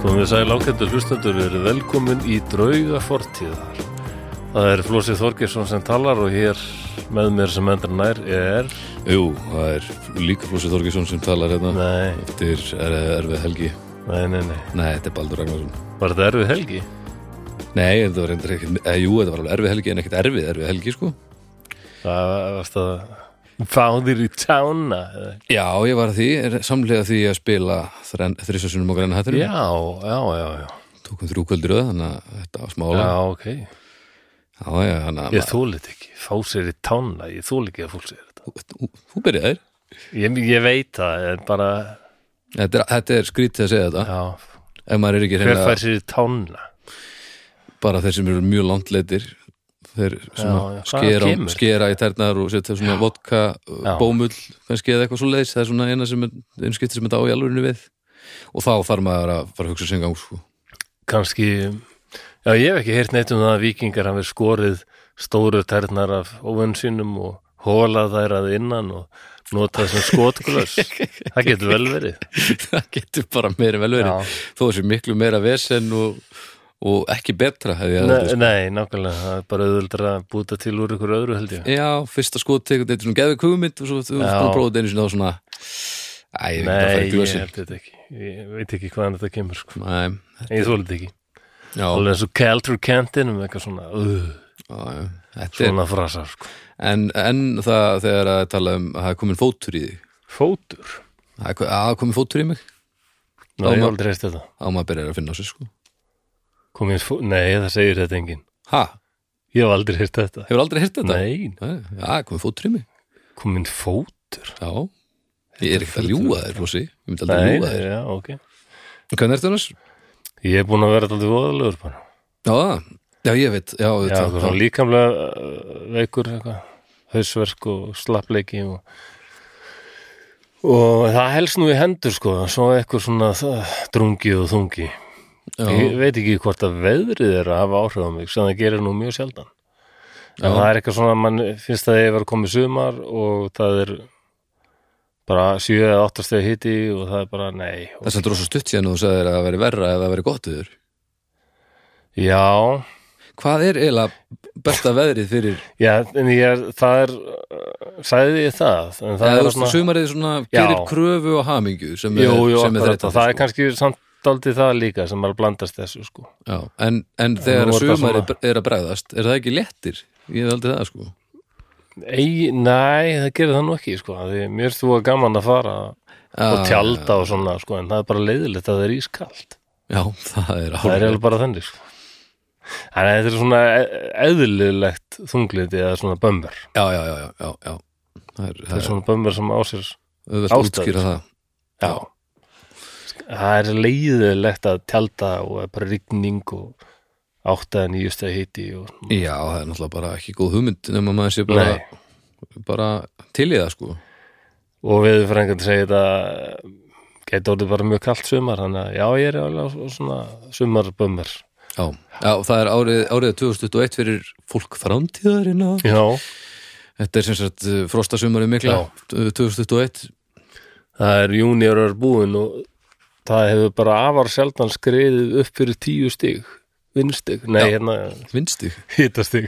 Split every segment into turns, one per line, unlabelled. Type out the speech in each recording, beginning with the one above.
Komið sæl ákveðtur hlustendur við erum velkomin í drauga fortíðar. Það er Flósi Þorgesson sem talar og hér með mér sem endur nær er,
Jú, það er líka Flósi Þorgesson sem talar hérna
nei,
eftir er, erfið helgi
nei, nei, nei,
Nei, þetta er Baldur Ragnarsson
var þetta erfið helgi?
Nei, þetta var reyndar ekkert, eh, jú, þetta var alveg erfið helgi en ekkert erfið, erfið helgi, sko
Það varst að fáðir í tjána. eða?
Já, ég var að því, er, samlega því að spila þrissasunum á græna hættinu
Já, já, já, já,
Tókum þrjú kvöldur öð, þannig að þetta var smála
já, ok.
Já, já, þannig
Ég þólið ekki, fá sér í tjána, ég þólið ekki að fólk sér þetta.
að þú, þú byrjaðir
Ég, ég veit það, en bara,
þetta er, þetta er skrítið að segja þetta
já,
Ef maður er ekki
hver
reyna
fær sér í tjána?
bara þeir sem eru mjög langt leitir Þeir
Já,
sem
já, hvaðan
skera,
kemur?
skera í tærnar og setja svona vodka,
Já.
bómull kannski eða eitthvað svo leiðis, það er svona eina sem er, einskipti sem þetta á í alvörinu við og þá þarf maður að fara að hugsa sem gang sko.
kannski já, ég hef ekki heyrt neitt um það að vikingar hafi skorið stóru ternar af óvönn sínum og hólað þær að innan og notað sem skotglöss það getur vel verið
það getur bara meira vel verið
Já.
þó þessi miklu meira vesen og, og ekki betra hefði ég sko. að
nei, nei, nákvæmlega, það er bara auðvöldra að búta til úr ykkur öðru held ég
já, fyrsta skottek þetta er svona geðu kugmynd og svo þú
Já.
bara bróðið einu sinni á svona æ, ég veit ekki að fara
nei,
í
ég
glösin
held þetta ekki ég veit ekki hvaðan þetta kemur sko.
nei,
En ég þólið ekki,
já,
alveg eins og Caltur Cantin um eitthvað svona, uh,
já, já, þetta er
svona frasar sko.
en, en það þegar að tala um að það er komin fótur í þig
fótur,
Það er ko- að það komi fótur í mig
Ná, ég
Á,
hef
ma-
aldrei reist þetta
á maður byrjar að finna á sér sko
Komið, fó- nei, það segir þetta enginn
ha,
ég hef aldrei reist þetta
hefur aldrei hirt þetta?
nei,
já, það komi fótur í mig
komin fótur
já, ég er ekkert að ljúga þér Rósi, ég myndi aldrei
Nei,
ljúga þér
já, ok
hvernig ertu annars?
Ég er búin að vera alltaf voðalegur bara
já, já, ég veit já,
Já,
þetta,
það var líkamlega uh, veikur eitthvað, hausverk og slappleiki og, og það helst nú í hendur sko, svo eitthvað svona það, drungi og þungi Ég
já,
veit ekki hvort að veðrið er að hafa áhrif á mig sem það gerir nú mjög sjaldan En það er eitthvað svona, mann finnst það að ég var komið sumar og það er bara sjö eða áttastegi hiti og það er bara nei og
það sem dróð svo stutt síðan og þú sagðir að það veri verra eða það veri gott viður
Já,
hvað er eiginlega besta veðrið fyrir
Já, en ég er, það er, uh, sagði ég það, en það
eða
er
þú veist, sumarið svona
Já.
gerir kröfu og hamingju sem er,
jú, jú,
sem
akkurat,
er þreytandi,
og það er
sko.
kannski samt aldrei það líka sem er að blandast þessu, sko.
Já, en, en þegar
nú er það
sumarið er að bregðast er það ekki léttir? ég er aldrei það sko
Ei, nei, það gerir það nú ekki, sko, af því mér erst þú að gaman að fara og
Ah,
tjálta og svona, sko, en það er bara leiðilegt að það er ískalt.
já, það er
Það er
hálfrið
eiginlega bara þannig, sko. Þannig að þetta er svona e- eðlilegt þungliti eða svona bömmur.
já, já, já, já, já, já. Það er,
Það
það
er
er
svona bömmur sem á sér,
auðvelt
ástæður.
útskýra það
já. Það er leiðilegt að tjálta og er bara rigning og átta en nýjustu hiti og
Já, það er náttúrulega bara ekki góð hugmynd nema maður sé bara,
Nei.
bara til í það sko
og við frængandi segja þetta geta orðið bara mjög kalt sumar þannig að já, ég er alveg á svona sumarbömmar
Já, já og það er árið, árið 2021 fyrir fólk framtíðarina
Já,
Þetta er sem sagt uh, frostasumarið mikla
Já.
uh, 2021
það er júniórar búin og það hefur bara afar sjaldan skriðið upp fyrir tíu stig vinnstig, nei
Já.
hérna
vinstig,
hitastig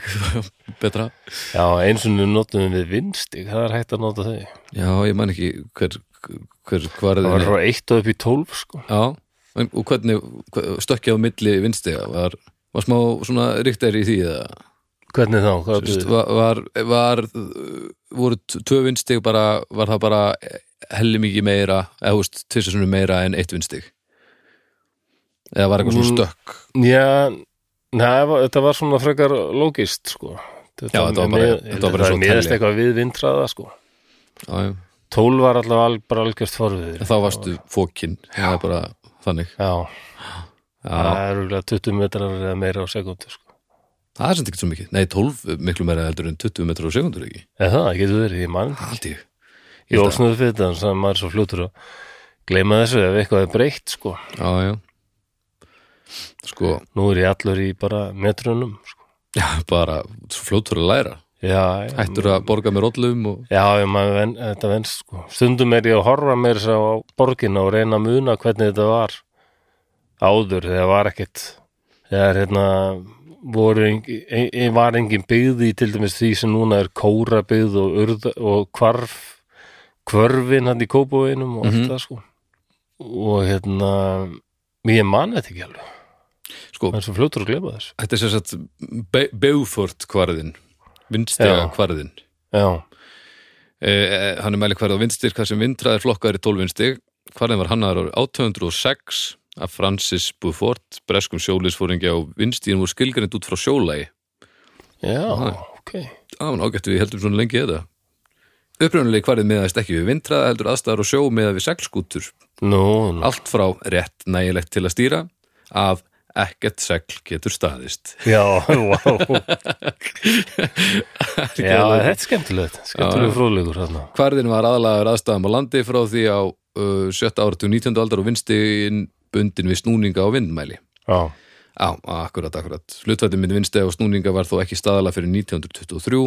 betra
Já, eins og nú notum við vinnstig það er hægt að nota þau
Já, ég man ekki hver, hver, hvar er
Það var
þið
frá eitt og upp í tólf sko
Já, en, og hvernig hva- stökkja á milli vinstiga var, var smá svona ríktar í því eða?
Hvernig þá? Hvað
Þú veist,
býður?
var, var, var uh, voru t- tvö vinstig bara, var það bara helli mikið meira, eða þú veist, tvissunum meira en eitt vinstig eða var eitthvað svona
Mm,
stökk
Já, neða, þetta var svona frekar logist sko
Já, þetta var bara-
mið-
þetta var bara
þetta
svo
miðast
telja.
eitthvað við vintraða sko
já, já.
12 var allavega al, bara algjörst forviður
en þá varstu fókinn það er bara þannig
Já,
já,
það eru örugglega 20 metrar eða meira á sekundu sko.
það er sem ekki svo mikið, nei 12 miklu meira heldur en 20 metrar á sekundur ekki
eða það getur verið, ég mann
haldi ég,
ég
held að-
ósnuðu fyrir þetta, þannig að maður er svo fljótur að gleyma þessu ef eitthvað er breytt sko.
já, já sko,
nú er ég allur í bara metrunum sko.
já, bara svo fljótur að læra,
Já, já,
hættur að borga með rollum og,
já, já maður, ven, þetta venst sko. stundum er ég að horfa mér á borgin og reyna að muna hvernig þetta var áður þegar var ekkert þegar hérna voru ein, ein, ein, var engin byggð í til dæmis því sem núna er kóra byggð og, urða, og hvarf hvörfin hann í kópaveinum og allt
Mhm.
það sko og hérna ég man þetta ekki alveg,
sko,
það er svo fljótur að glefa þess
þetta er sér satt Be Beaufort kvarðin vindstega
Já.
kvarðin
já,
Eh, hann er mæli hverð á vindstyrk hvað sem vindraðir flokkaður í 12 vindstig hvarðin var hannaður árið 1806 af Francis Beaufort breskum sjóliðsfóringi á vindstíðin voru skilgrind út frá sjólægi
já,
Nei.
ok
Það var nágætt við heldum svona lengi í þetta. Uppröðunlega hvarðið meðaðist ekki við vindraða heldur aðstæðar og sjó meða við seglskútur.
nú, nú,
Allt frá rétt nægilegt til að stýra af ekkert segl getur staðist.
já, wow já, þetta
Geðveikt.
er skemmtilegt skemmtileg fróðlegur þarna
Hvarðin var aðlagur aðstæðum á landi frá því á uh, 7. áratu 19. aldar og vinstigin bundin við snúninga og vindmæli.
já,
Já, akkurat, akkurat. Hlutvættin mynd vinstega og snúninga var þó ekki staðala fyrir 1923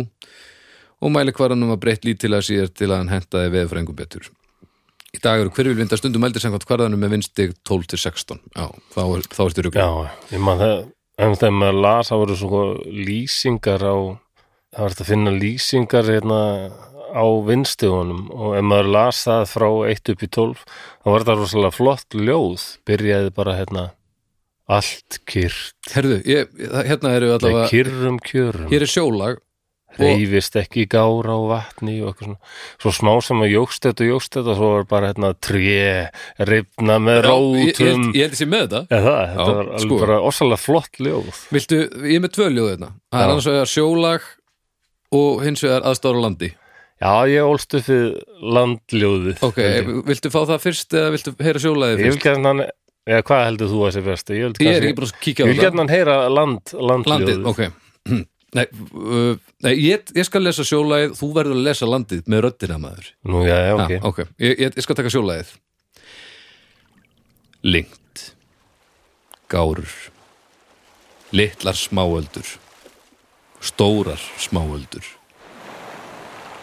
og mæli hvaranum var breytt lítilega síðar til að hann hentaði veðfrængum betur. Í dag eru hverfilvindar stundum eldir samkvæmt hvarðanum með vinsteg 12 til 16. Já, þá, er, þá ertu ruggur.
já, ég man það en þegar maður las, það voru svo lýsingar á, það var þetta að finna lýsingar hérna á vinstugunum og ef maður las það frá 1 upp í 12 þá var þetta rosalega flott ljóð byrjaði bara hérna allt kyrrt,
Herðu, ég, það- hérna eru
Nei,
allavega,
kyrrum kjörum
hér er sjólag.
reyfist ekki gára á vatni og eitthvað svona, svo smá sem að jógst þetta og jógst þetta, svo var bara hérna tré, rifna með
Já, ég, ég,
rótum
held- ég held þessi með þetta.
Eða, það, þetta
Já,
var alveg
sko.
bara orsalega flott ljóð
Viltu, ég er með tvö ljóð hérna. Það er
Já.
annars vegar sjólag og hins vegar aðstára landi.
Já, ég ólst upp við landljóðið
Ok, eh,
held ég.
viltu fá það fyrst eða viltu heyra sjólaðið
Ég vil
fyrst?
gæðan hann eða hvað heldur þú að sé besti? Ég,
Ég er ekki búin að kíkja á
Ég
það.
vil hérna gæðan hann heyra land, landljóðið
Landið, ok Nei, uh, nei ég, ég skal lesa sjólæð Þú verður að lesa landið með röddina maður
Nú, já, já, ok
ah, okay. Ég, ég, ég skal taka sjólæðið Lingt Gárur Litlar smáöldur Stórar smáöldur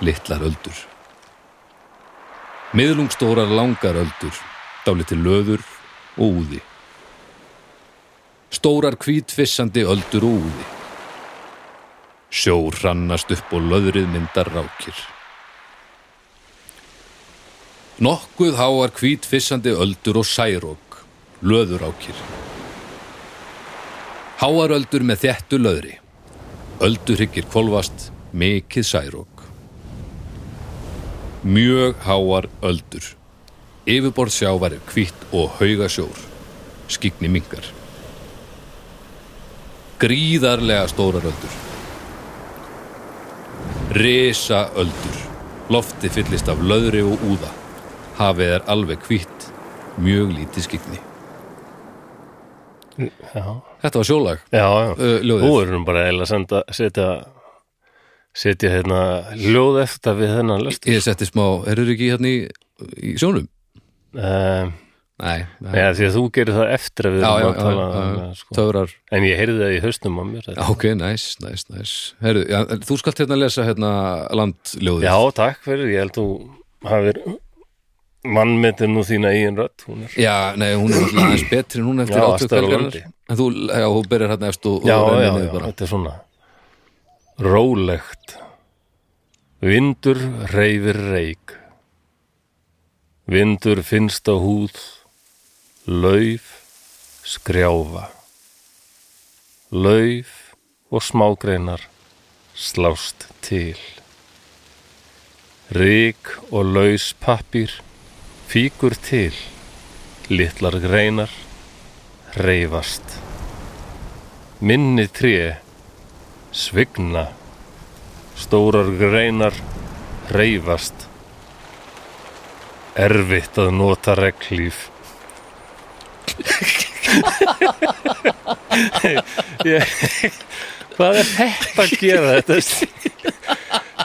Litlar öldur Miðlungstórar langar öldur Dálítið löður og úði Stórar hvítfissandi öldur og úði Sjór hrannast upp og löðrið myndar rákir Nokkuð háar hvítfissandi öldur og særók, löðurákir. Háar öldur með þéttu löðri. Öldurhyggir kvolvast, mikið særók. Mjög háar öldur. Yfirborð sjávar er hvít og hauga sjór. Skigni mingar. Gríðarlega stórar öldur. Risa öldur. Lofti fyllist af löðri og úða. Hafið er alveg hvitt, mjög lítið skikni.
Já,
Þetta var sjólag,
já, já
uh,
Nú
ljóðið.
erum við bara eiginlega að senda, setja setja hérna ljóð eftir við þennan löst
Ég setti smá, erur ekki hérna í, í sjónum?
um,
Nei, nei.
Já, því að þú gerir það eftir að við
já, já,
erum
já,
að tala
já,
um, sko.
töfrar.
En ég heyrði það í haustum á mér þetta.
Já, Ok, næs, næs, næs. Herru, já, en þú skalt hérna lesa hérna landljóðið.
Já, takk fyrir, ég held þú hafir mannmetir nú þína eigin rödd, hún er
Já, nei, hún er alltaf aðeins betri en hún eftir
Já,
átök
Astar og
helgarinnar.
Landi.
En þú, já, hún byrjar hérna eftir og
Já,
og rennir
já,
niður
já,
bara.
þetta er svona rólegt Vindur reyfir reik Vindur finnst á húð Lauf skrjáfa Lauf og smágreinar slást til Rík og laus pappír fíkur til Littlar greinar reyfast minni tré svigna stórar greinar reyfast erfitt að nota reglíf ég, hvað er þetta að gera þetta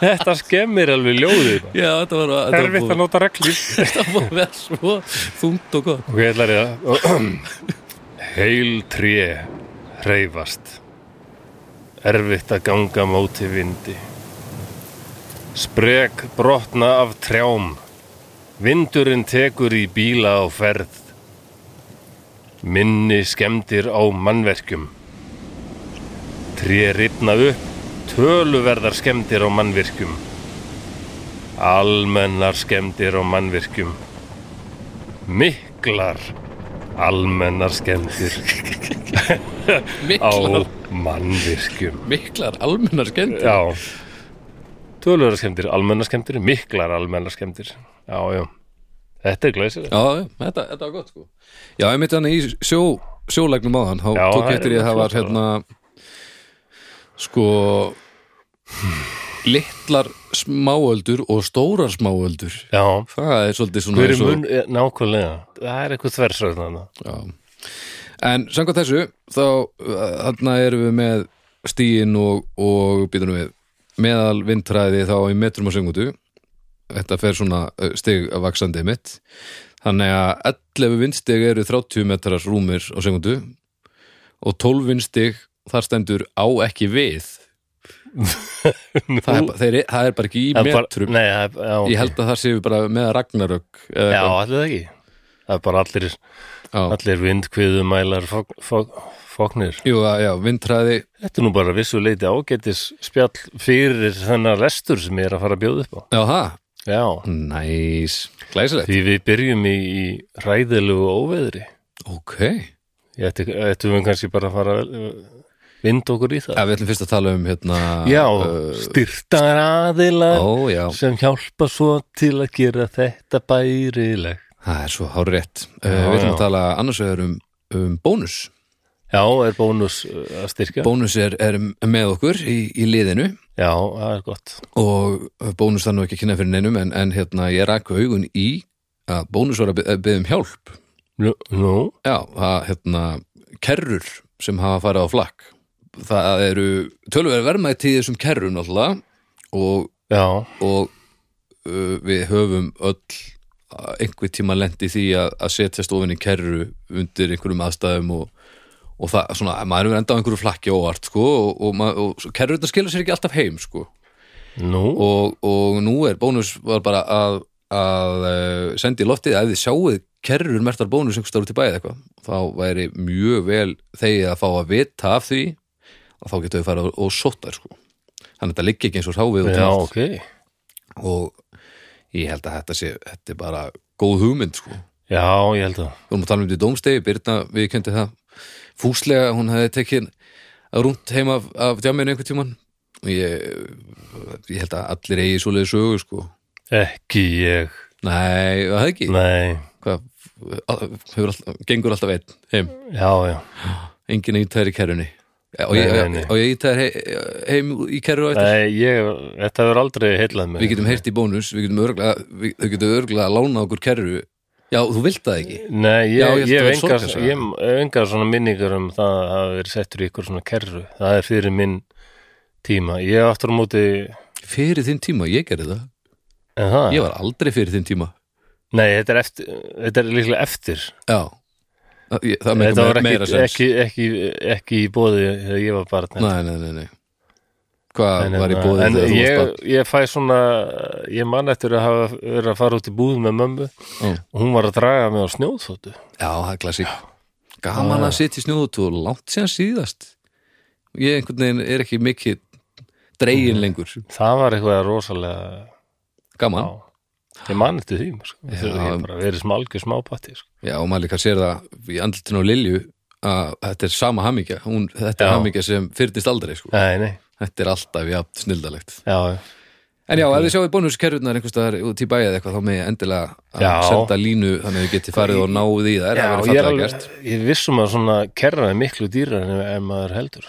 þetta skemmir alveg ljóðið
Já, þetta var þetta var
erfitt að
búið-
nota reglíf
þetta var vel svo þungt og gott.
Ok, ég ætlar ég það. Heil tré reyfast. Erfitt að ganga móti vindi. Sprek brotna af trjám. Vindurinn tekur í bíla á ferð. minni skemmdir á mannverkjum. Tré ripna upp, töluverðar skemmdir á mannvirkjum. Almennar skemmdir á mannvirkjum. Miklar almennar skemmdir á
Miklar,
mannvirkjum.
miklar almennar skemmtir
Já Töluverðar skemmtir, almennar skemmtir, miklar almennar skemmtir Já, já Þetta er glæsir
Já, já, þetta, þetta var gott sko Já, ég mitt hann í sjó, sjólægnum áðan þá
Já, það
tók ég
er
eftir ég að það var
flott,
hérna sko litlar smáöldur og stórar smáöldur
Já,
það er svolítið svona
hver er
eins og-
mun, eh, nákvæmlega Það er eitthvað þversögn þarna
Já. En samkvæmt þessu þá uh, þarna erum við með stíin og, og býtunum við meðal vindræði þá í metrum og segundu þetta fer svona uh, stig vaksandi mitt þannig að 11 vindstig eru 30 metrar rúmir á segundu og 12 vindstig þar stendur á ekki við það er, bara- þeir, það er bara ekki í
Það er bara-
metrum
Nei, það er, já,
ég held að það séu bara með Ragnarök
Já,
eða eitthvað.
allir það ekki Það er bara allir,
já.
allir vindkviðumælar fók, fók, fóknir
Jú, það- já, vindræði
Þetta er nú bara vissuleiti ágætis spjall fyrir þennan lestur sem ég er að fara að bjóða upp á
já, það
Já,
Næs, glæsilegt
því við byrjum í, í ræðilegu óveðri
Ok,
Ég ætti, ættum við kannski bara að fara að vinda okkur í það.
ja, við ætlum fyrst að tala um hérna
Já,
uh,
styrtar aðilar
Ó, já,
sem hjálpa svo til að gera þetta bærileg.
það er svo hár rétt
Já,
uh, Við ætlum að
já.
tala annars vegar um, um bónus
Já, er bónus uh, að styrkja?
Bónus er, er með okkur í, í liðinu
Já, það er gott.
og uh, bónus það nú ekki að kynna fyrir neinum en, en hérna ég rak augun í að bónus var að be- að beða um hjálp
Nú, nú
Já, að hérna kerrur sem hafa farið á flakk Það eru tölverð vermaði í þessum kerrum náttúrulega og
já,
og uh, við höfum öll uh, einhver tíma lendi því að, að setja stofin í kerru undir einhverjum aðstæðum og, og það, svona, maður er enda á einhverju flakki óvart, sko, og, og, ma- og, og kerru þetta skilur sér ekki alltaf heim, sko
nú,
og, og nú er bónus var bara að, að uh, sendi í loftið að ef þið sjáuð kerrur mertar bónus einhvers starf til bæði eitthvað þá væri mjög vel þegið að fá að vita af því og þá getur við farið og sótt þær, sko þannig að þetta liggi ekki eins og hráfið út um
já,
allt
ok.
og ég held að þetta sé þetta er bara góð hugmynd sko við
Já, ég held að.
vorum að tala um þetta í dómstegi, Birna við kendi það fúslega, hún hefði tekið rúnt heim af, af djáminu einhvern tímann og ég, ég held að allir eigi svoleiði sögu sko
Ekki ég.
nei, það hefði ekki
Nei,
Hvað, hefur alltaf, gengur alltaf einn heim,
já, já.
enginn ítæðir í kerrunni og ég,
Nei, nei, nei.
og ég ítæðir heim, heim í kerru á eftir
Nei, ég, þetta hefur aldrei heillað mig.
við getum heyrt í bónus, við getum örglega við, þau getum örglega að lána okkur kerru já, þú vilt það ekki
Nei, ég,
Já,
ég, hef
ég held að það er
engar,
sorgarsaga.
ég hef engar svona minningar um það að hafa verið settur í ykkur svona kerru. Það er fyrir minn tíma. Ég hef aftur á móti,
fyrir þinn tíma, ég gerði það
en það?
ég var aldrei fyrir þinn tíma
Nei, þetta er, eftir, þetta er líklega eftir.
já, það, ég- það meika
þetta var
meira, meira
ekki,
sens
ekki, ekki, ekki í bóði þegar ég var barn.
nei, nei, nei, nei. hvað
En,
var í
hérna,
bóðið
en
þegar þú
ég,
varst
ég fæ svona ég man eftir að hafa verið að fara út í búð með mömmu
Já.
og hún var að draga mig á snjóþóttu
barn já, það er klassík gaman
Ah.
að sitja í snjóðutú og langt síðan síðast ég einhvern veginn er ekki mikið
Mhm.
dregin lengur
það var eitthvað rosalega
gaman,
á. ég man eftir því sko.
Já.
Þegar ég bara verið smalgjur smápatti sko.
já, og maður líka sér það í andlutinu á Lilju að þetta er sama hamingja, hún, þetta er
Já.
hamingja sem fyrtist aldrei, sko,
nei, nei,
þetta er alltaf jafn snildalegt
já, já
En já, ef þið sjáu bónuskerfurnar einhvers staðar út í bæja eða eitthvað þá með endilega
Já.
að senda línu þannig að við getið farið og náð í
Já, ég
það það verið
er
fallega
alveg,
gert
ég vissum að svona kerra er miklu dýrar en, en maður heldur.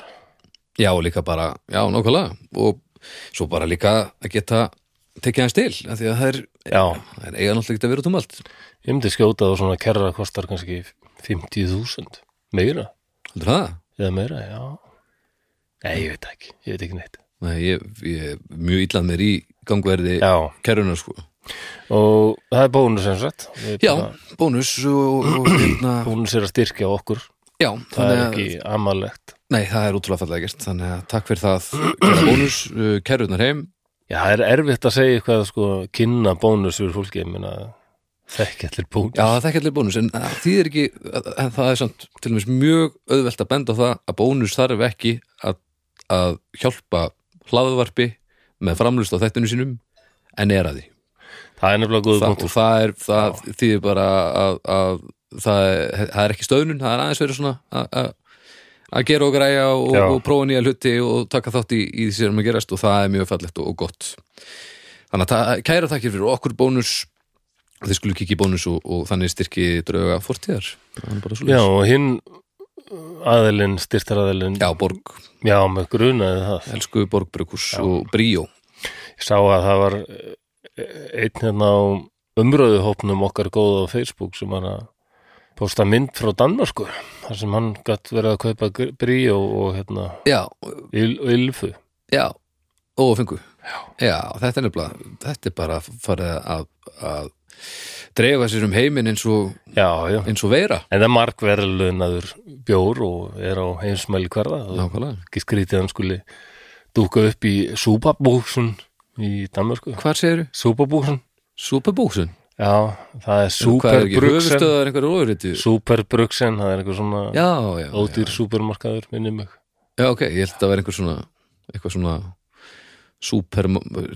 Já, og líka bara, já, nákvæmlega og svo bara líka að geta tekið hans til, af því að það er,
Já,
það er eiga náttúrulega ekki að vera út um allt
ég myndi skjóta og svona kerra kostar kannski 50.000, meira,
Heldur það?
eða meira, já. Nei, ég veit ekki, ég veit ekki neitt.
Nei, ég, ég er mjög illað mér í gangverði
Já,
kerfunar, sko
og það er bónus sem sagt. Við
Já,
bara-
bónus og, og hérna,
Bónus er að styrkja okkur,
já,
það
þannig
er
að
ekki amalegt.
Nei, það er útrúlega fallega gert, þannig að takk fyrir það kæra bónus, uh, kerfurnar heim
Já, það er erfitt að segja eitthvað, sko, kynna bónus fyrir fólki, ég meina, Þekki allir búin.
Já, það er ekki allir bónus, en því er ekki en það er samt til dæmis mjög auðvelt að benda á það að bónus þarf ekki að, að hjálpa hlaðvarpi með framlust á þettinu sínum en er að því
Það er nefnilega góð
það,
punktur.
og það er, það þýðir bara að, að það, er, það er ekki stöðnun það er aðeins verið svona að- að að gera og græja og,
Já.
og prófa nýja hluti og taka þátt í, í því sem að gerast og það er mjög fallegt og, og gott þannig að það- kæra takkir fyrir okkur bónus og þið skulum kikið bónus og, og þannig styrki drauga fortíðar Það er bara
Já,
svoleiðis.
og hinn aðilinn, styrtaraðilinn,
Já, Borg,
já, með grunaði það.
elsku Borg Brukus og Bríó
Ég sá að það var eh, einn hérna á umröðuhópnum okkar góða á Facebook sem var að posta mynd frá Danmarku þar sem hann gætt verið að kaupa gr- bríó og hérna
Já,
yl, ylfu
Já, og fengu Já, þetta er nefnilega þetta er bara farið að, að dreifa sér um heiminn eins og,
Já, já, en
eins og veira
það er markverðlunaður bjór og er á heimsmæli hverða og
Nákvæmlega
ekki skrítið að hann skuli dúka upp í súpabúksun í Danmarku
Hvar segirðu?
Súpabúksun?
Superbúksun?
Já, það er
Hvað er ekki?
Superbrugsen
Höfustöðar einhverju óriðtu?
Superbrugsen, það er eitthvað svona
Já, já, já,
ódýr supermarkaður, minni mig
já, ok, ég held að vera einhver svona eitthvað svona super,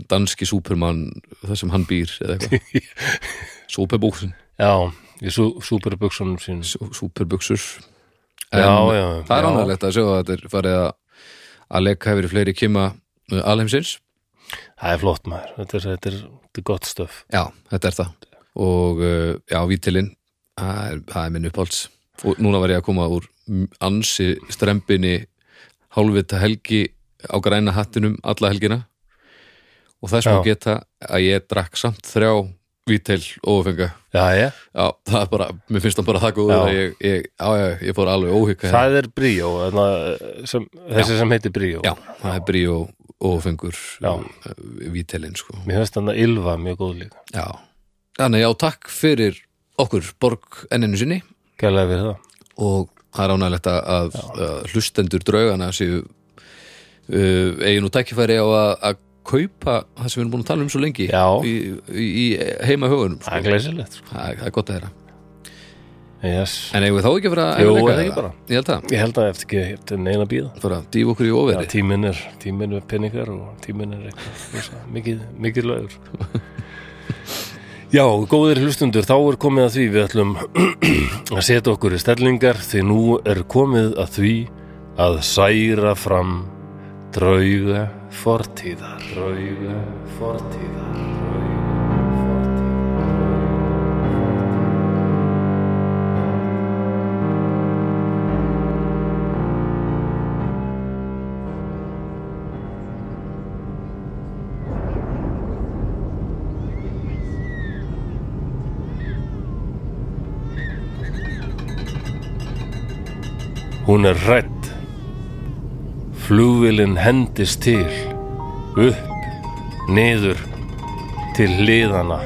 danski supermann það sem hann býr eða eitthvað Superbúksun,
Já, í sú, superbuksunum sínum
superbuksur
Já, já,
Það er
já.
ánægilegt að sjá að þetta er farið að að leika hefur í fleiri kima uh, alheimsins
Það er flott maður, þetta er, þetta er, þetta er gott stöf
Já, þetta er það og uh, já, Vítilinn það er, það er minn uppáhalds og núna var ég að koma úr m- ansi strembinni hálfvita helgi á græna hattinum alla helgina og þess má
Já.
geta að ég drakk samt þrjá Vítil ófenga
Já, já,
Já, það er bara, mér finnst það bara það góð
Já.
að ég, ég, á, já, ég fór alveg óhyggja
það er bríó þarna, sem, þessi sem heitir bríó
Já, það er brí og ófengur
Já.
Vítilinn, sko
Mér finnst þannig að Ylva mjög góð líka
Já, þannig já, takk fyrir okkur Borg enninu sinni
Gælega við það
og það er ánægilegt að, að, að hlustendur draugana séu uh, eigin og tækifæri á að, að kaupa það sem við erum búin að tala um svo lengi
Já.
í, í, í heima hugunum
Það er
sko.
glæsilegt sko.
það, það er gott að þeirra
yes.
en eigum við þá ekki að fara að
Jú,
leika
er það
eða?
ekki bara?
ég held að,
Ég held að eftir ekki þetta er neina að býða
bara dýfa okkur í
Já,
oferi
tíminn er, tíminn er peningar og tíminn er eitthvað, rosa mikið, mikið lögur. Já, góðir hlustundur, þá er komið að því við ætlum að setja okkur í stellingar því nú er komið að því að særa fram drauga fortíðar. Drauga fortíðar. Hún er rætt. Flugvilin hendist til, upp, niður, til hliðana.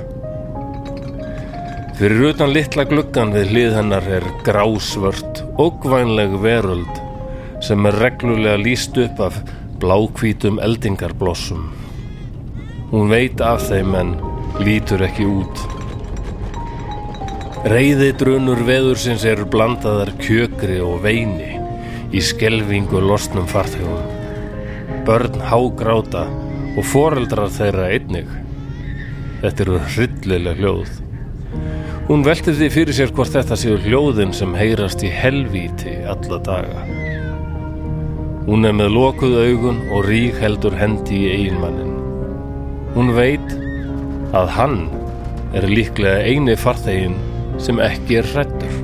Fyrir utan litla gluggan við hlið hennar er grásvört, ógvænleg veröld sem er reglulega líst upp af blákvítum eldingarblossum. Hún veit af þeim en lítur ekki út. Reyðidrunur veðursins eru blandaðar kjökri og veini í skelfingu losnum farþegum. Börn hágráta og foreldrar þeirra einnig. Þetta eru hryllileg hljóð. Hún veltir því fyrir sér hvort þetta séu hljóðin sem heyrast í helvíti alla daga. Hún er með lokuð augun og rík heldur hendi í eiginmannin. Hún veit að hann er líklega eini farþegin sem ekki er hrættur.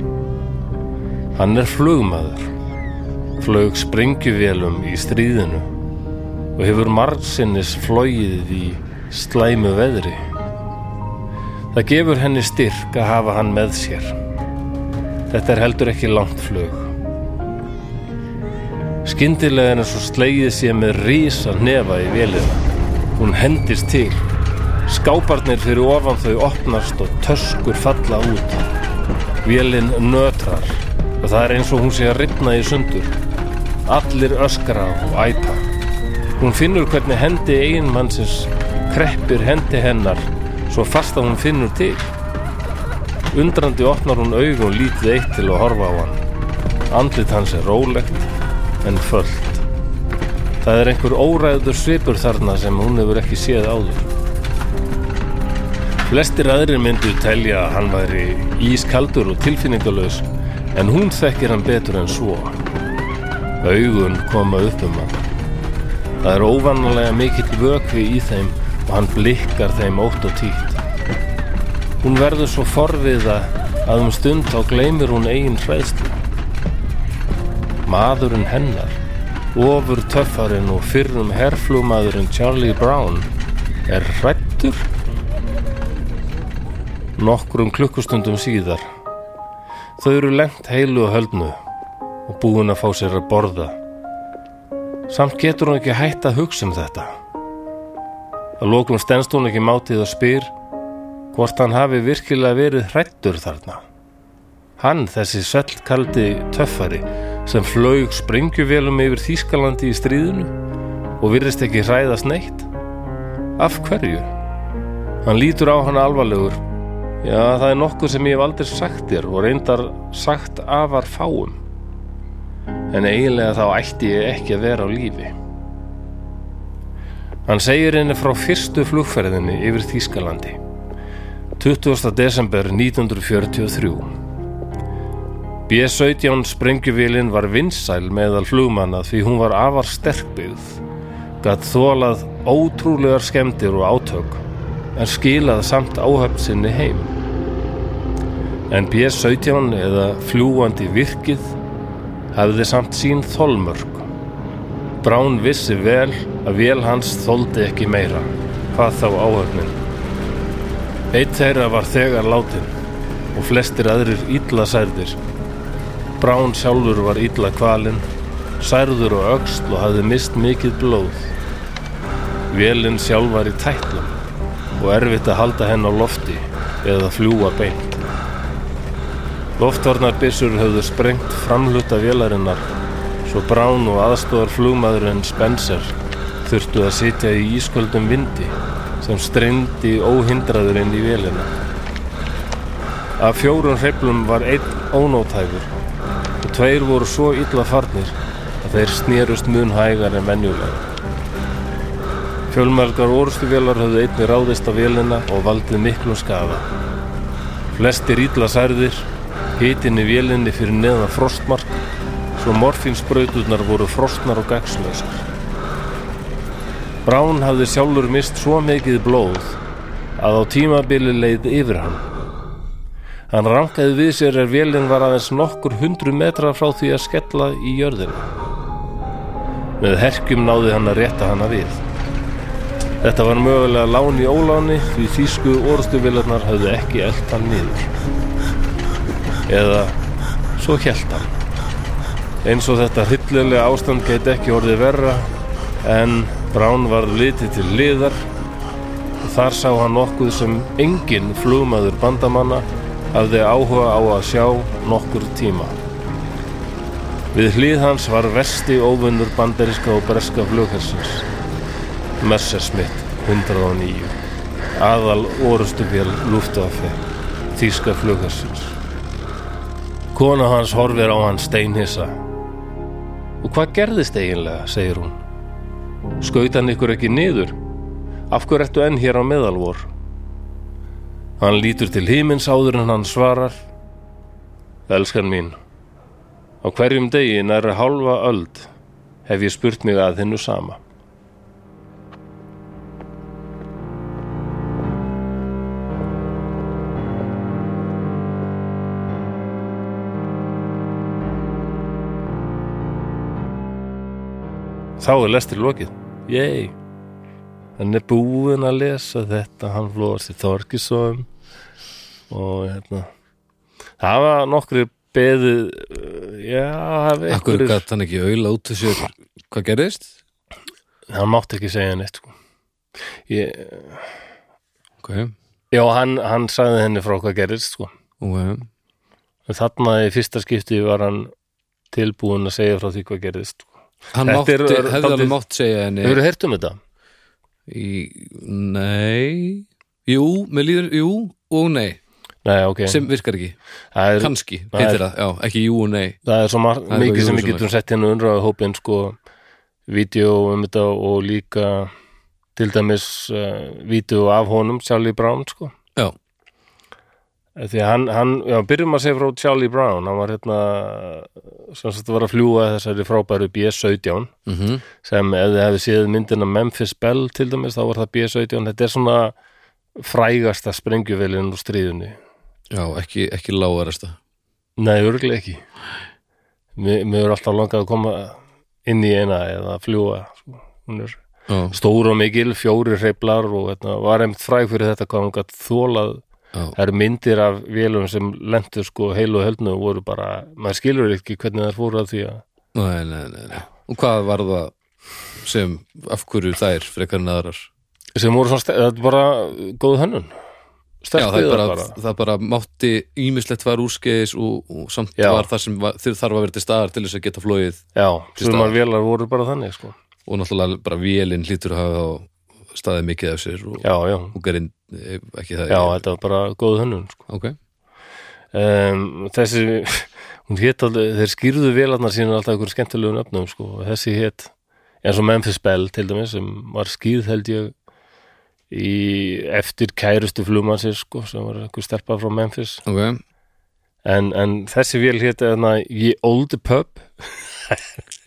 Hann er flugmaður, flög sprengjuvélum í stríðinu og hefur margsinnis flogið í slæmu veðri. Það gefur henni styrk að hafa hann með sér. Þetta er heldur ekki langt flug. Skyndilega er eins og slegið sé með rísa nefa í vélina. Hún hendist til Skáparnir fyrir ofan þau opnast og töskur falla út. Vélinn nötrar og það er eins og hún sé að ripna í sundur. Allir öskra og æpa. Hún finnur hvernig hendi eiginmannsins kreppir hendi hennar svo fast að hún finnur til. Undrandi opnar hún augun lítið eitt til að horfa á hann. Andlit hans er rólegt en fullt. Það er einhver óræður svipur þarna sem hún hefur ekki séð áður. Flestir aðrir myndu telja að hann væri ískaldur og tilfinningalös en hún þekkir hann betur en svo. Augun koma upp um hann. Það er óvannalega mikill vökvi í þeim og hann blikkar þeim ótt og títt. Hún verður svo forviða að um stund þá gleymir hún eigin hræðslu. Maðurinn hennar, ofur töffarinn og fyrrum herflúmaðurinn Charlie Brown er hrættur. Nokkrum klukkustundum síðar. Þau eru lengt heilu og höldnu og búin að fá sér að borða. Samt getur hún ekki hætt að hugsa um þetta. Að lokum stendst hún ekki mátið og spyr hvort hann hafi virkilega verið hrættur þarna. Hann, þessi svellkaldi töffari, sem flaug sprengjuvélum yfir Þýskalandi í stríðinu og virðist ekki hræðast neitt. Af hverju? Hann lítur á hann alvarlegur. Já, það er nokkuð sem ég hef aldrei sagt þér og reyndar sagt afar fáum. En eiginlega þá ætti ég ekki að vera á lífi. Hann segir henni frá fyrstu flugferðinni yfir Þýskalandi. 20. desember 1943 B-17 sprengjuvélin var vinsæl meðal flugmanna því hún var afar sterkbyggð gatt þólað ótrúlegar skemmtir og átök en skilað samt áhöfn sinni heim En B-17 eða fljúandi virkið hafði samt sín þolmörk Brán vissi vel að vél hans þoldi ekki meira hvað þá áhöfnin Eitt þeirra var þegar látin og flestir aðrir illa særðir. Brán sjálfur var illa kvalinn, særður og öxl og hafði mist mikið blóð. Vélinn sjálf var í tætlum og erfitt að halda henn á lofti eða fljúa beint. Loftvarnarbissur höfðu sprengt framluta vélarinnar svo Brán og aðstofar flugmaðurinn Spencer þurftu að sitja í ísköldum vindi sem streyndi óhindraður inn í vélina. Af fjórun hreiflum var einn ónótæfur og tveir voru svo illa farnir að þeir snérust mun hægar en venjulega. Fjölmargar orustuvélar höfðu einni ráðist á vélina og valdið miklum skafa. Flestir illa særðir, hitin í vélinni fyrir neðan frostmark, svo morfinsbrauturnar voru frostnar og gagslausar. Brán hafði sjálfur mist svo mikið blóð að á tímabili leið yfir hann. Hann rankaði við sér er vélinn var aðeins nokkur hundru metra frá því að skella í jörðina. Með herkjum náði hann að rétta hana við. Þetta var mögulega lán í óláni því þýsku orðstuvilarnar hafði ekki elt hann niður. Eða svo hjælt hann. Eins og þetta hryllilega ástand gæti ekki orðið verra en Brán var litið til liðar og þar sá hann nokkuð sem enginn flugmaður bandamanna hafði áhuga á að sjá nokkur tíma. Við hlið hans var versti óvinnur banderiska og breska flughersins, Messerschmitt 109, aðal orustufél lúftafi, þýska flughersins. Kona hans horfir á hann steinhissa. Og hvað gerðist eiginlega, segir hún. Skaut hann ykkur ekki niður? Af hverju ertu enn hér á meðalvor? Hann lítur til himins áður en hann svarar Elskan mín, á hverjum degi næra hálfa öld hef ég spurt mig að hennu sama. Þá er lestir lokið. Yey! Hann er búinn að lesa þetta, hann flóðast í Þorkisóðum og hérna það var nokkri beðið uh, já, það var
Akkur
einhverjir
gætt hann ekki auðla út úr sér hvað gerðist?
hann mátti ekki segja neitt sko. ég,
Ok,
já, hann, hann sagði henni frá hvað gerist sko.
ok,
en þarna í fyrsta skipti var hann tilbúinn að segja frá því hvað gerist sko.
Hann
Þetta
mátti,
er- er-
hefði alveg
dálítið-
mátt segja henni
hefur þú heyrt um þetta?
í, Nei Jú, með líður, jú og nei
Nei, ok.
sem virkar ekki,
það, er,
kannski
það er-
heitir það, já, ekki jú og nei
það er svo mar-
Það
mikið sem
er eitthvað
við
júrusjónleik.
getum sett hérna undraða hópin, sko, vídeo um þetta og líka til dæmis uh, vídeo af honum, Charlie Brown, sko. Eh,
já,
Því að hann, hann, já, byrjum að segja frá Charlie Brown, hann var hérna, sem sagt var að fljúga þessari frábæru B-17
mhm
sem ef þið hefði séð myndina Memphis Bell til dæmis, þá var það B-17, þetta er svona frægasta sprengjuvélinn úr stríðunni.
já, ekki, ekki lágarasta
Nei, örgulega ekki. Mér, mér er alltaf langað að koma inn í eina eða að fljúa, sko, hún er
já,
stór og mikil, fjóri hreiflar og hérna, var einmitt fræg fyrir þetta hvað hún gætt þólað
já,
það eru myndir af vélum sem lentu sko heil og höldnu og voru bara maður skilur ekki hvernig það fóru að því að
nei, nei, nei, nei og hvað var það sem, af hverju þær frekar en aðrar
sem voru svona, ste- þetta er bara góð hönnun
já, það,
sterkbyðar
bara,
bara,
það bara mátti ímislegt var úrskeiðis og, og samt
Já.
var það sem var, þeir þarf að vera til staðar til þess að geta flóið
já,
Til
sumar vélar voru bara þannig sko
og náttúrulega bara vélinn hlýtur að hafa þá staðið mikið af sér og,
já, já,
og gerinn, eh, ekki það
já, þetta var bara góð hönnun sko.
ok,
um, þessi hún hét aldrei, þeir skýrðu vélarnar sína alltaf ykkur skemmtilegu nöfnum sko og þessi hét eins og Memphis Bell til dæmis sem var skýrð held ég í eftir kærustu flumansir sko sem var einhver stelpa frá Memphis
ok
En, en þessi vél hétt hérna Ye Olde Pub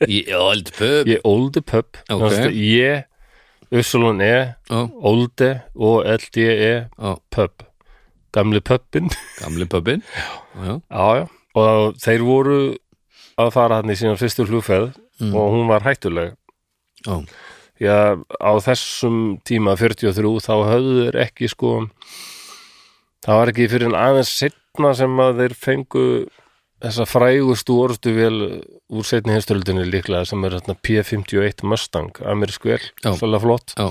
ég er old pub
Ye Olde Pub
Ok.
Ye, Ussulun E,
já,
Olde og LDE
já,
Pub E Gamli pubin
gamli pubin já,
Já, já Og þeir voru að fara hann í sína fyrstu flugferð
Mm.
og hún var hættuleg
já,
Já, á þessum tíma 43 þá höfðu þeir ekki sko það var ekki fyrir en aðeins setna sem að þeir fengu þessa frægustu orðstu vel úr setni hinstöldinni líklega sem er þarna P-51 Mustang amerísku vel,
Já.
svolítið flott
Já.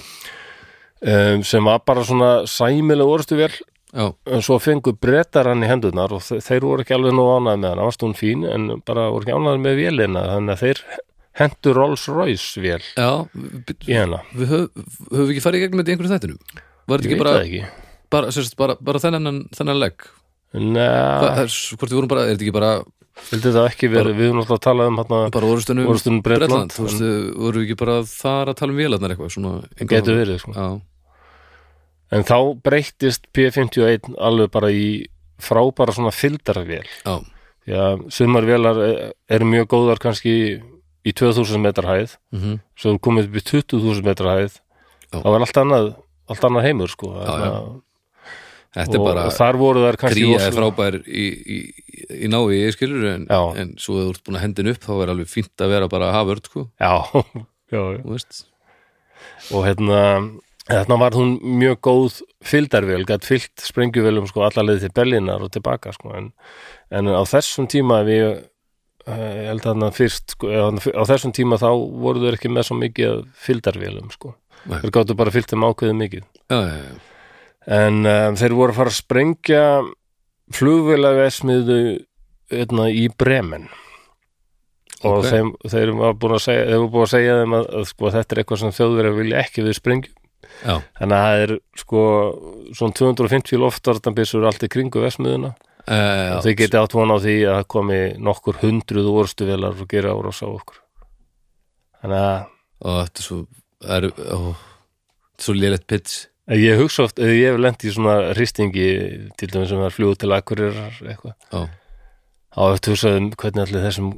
um, sem var bara svona sæmileg orðstu vel
já,
en svo fengu brettar hann í hendunar og þe- þeir voru ekki alveg nú ánæði með hann, hann varst hún fín en bara voru ekki ánæði með vélina þannig að þeir hendur Rolls Royce vél
já við,
í hana
við höfum höf ekki farið í gegnum þetta í einhverjum þættinum var þetta
Ég
ekki
veit
bara,
það ekki
bara, sérst, bara, bara þennan, þennan legg Hva,
Nei,
það er, s- hvort við vorum bara, er þetta ekki bara
vildi það ekki verið Við höfum alltaf að tala um hérna
bara orðustunum
Orrustunum Bretland,
þú veist, voru við ekki bara þar að tala um vélarnar eitthvað svona, einhvern
Getur
veginn?
verið sko.
já,
En þá breyttist P51 alveg bara í frábæra svona fyldarvél
já,
Því að sumar vélar eru mjög góðar kannski í 2000 metra hæð
mm
Svo er komið upp í 20.000 metra hæð
Já.
Það var allt annað, allt annað heimur sko.
já.
Og,
þetta er bara
og þar voru þær kannski
gríja er
rosalega-
frábær í, í, í nái ég skilur en,
Já.
en svo hefur þú ert búin að hendin upp þá er alveg fínt að vera bara að hafa ört sko,
Já, já, já
þú veist
og hérna þarna var hún mjög góð fylgdarvél, gætt fyllt sprengjuvélum sko allarleið til Berlínar og tilbaka sko en, en á þessum tíma við eh, ég held að hann fyrst sko, eða þarna- á þessum tíma þá voru þau ekki með svo mikið af fylgdarvélum sko
Nei.
þeir gáttu bara fyllt þeim ákveðið mikið
já, já, já,
en um, þeir voru að fara að sprengja flugvélaversmiðu hérna, í Bremen og
Ok.
þeim, þeir var búin að segja þeir voru búin að segja þeim að, að sko, þetta er eitthvað sem þjóðverið vilja ekki við sprengjum
já,
þannig að það er sko svona 250 loftartanbissur allt í kringu versmiðuna
já, Eh, já,
og þau geti átt von á því að það komi nokkur hundruð orstuvelar og gera árás á okkur þannig að
og þetta er svo það er, ó, þetta er svo lélegt pits
ég hugsa oft, ég hef lent í svona hristingi til dæmis sem er fljóð til akkurirar eitthvað,
já,
á eftir hugsaðum um hvernig allir þessum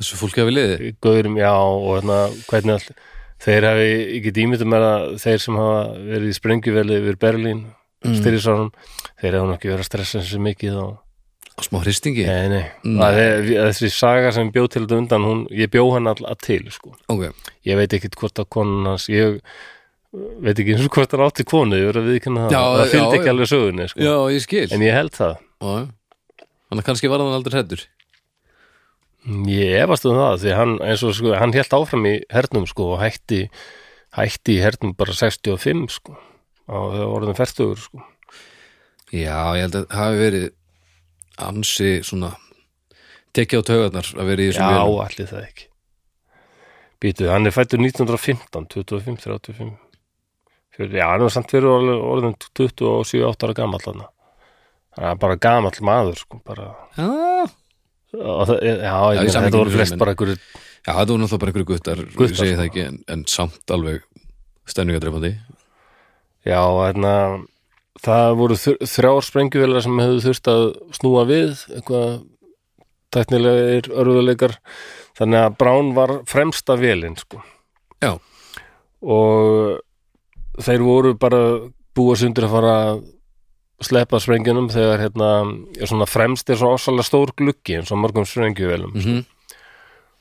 þessu fólki hafi liði
gauðurum já og hérna, hvernig allir þeir hafi, ég get ímyndum með að þeir sem hafa verið í sprengjuveli yfir Berlín mm. þeir hafa nú ekki verið að stressa þessu mikið og
og smá hristingi,
Nei, nei,
Nei. Mm.
Það er, þessi saga sem bjó til þetta undan hún, ég bjó hann alltaf til sko.
ok
ég veit ekkit hvort að konan hans ég veit ekki eins og hvort hann átti konu ég verið að viðkynna það,
Já,
það fylgdi
já,
ekki alveg sögunni sko.
já, ég skil, já,
en ég held það
já þannig að kannski var hann aldrei hættur
ég efast um það, því hann eins og sko, hann hélt áfram í hernum sko, og hætti, hætti í hernum bara 65 sko, og þau voruðum fertugur sko.
Já, ég held að það hafi verið ansi svona tekja á taugarnar að vera í
já,
þessum vélum.
allir það ekki býtu, hann er fættur 1915 25, 35 Fjör, já, hann er samt verið orðin 27, 8 ára gamall hann Það er bara gamall maður sko, bara,
Já,
og, það- já, ég,
í
meina,
samhengi
þetta voru
við
flest
menn.
bara einhverju
Já, það voru náttúrulega bara einhverju guttar,
Guttar,
ég segi það
sko.
ekki, en, en samt alveg stæningadreifandi.
Já, hérna það voru þr- þrjár sprengjuvelar sem hefðu þurft að snúa við eitthvað tæknilegir örðuleikar þannig að Brown var fremsta velin sko.
Já,
og þeir voru bara búa sundur að fara að sleppa sprengjunum þegar hérna, er svona fremst er svona ósalega stór gluggi eins og á mörgum sprengjuvelum
mm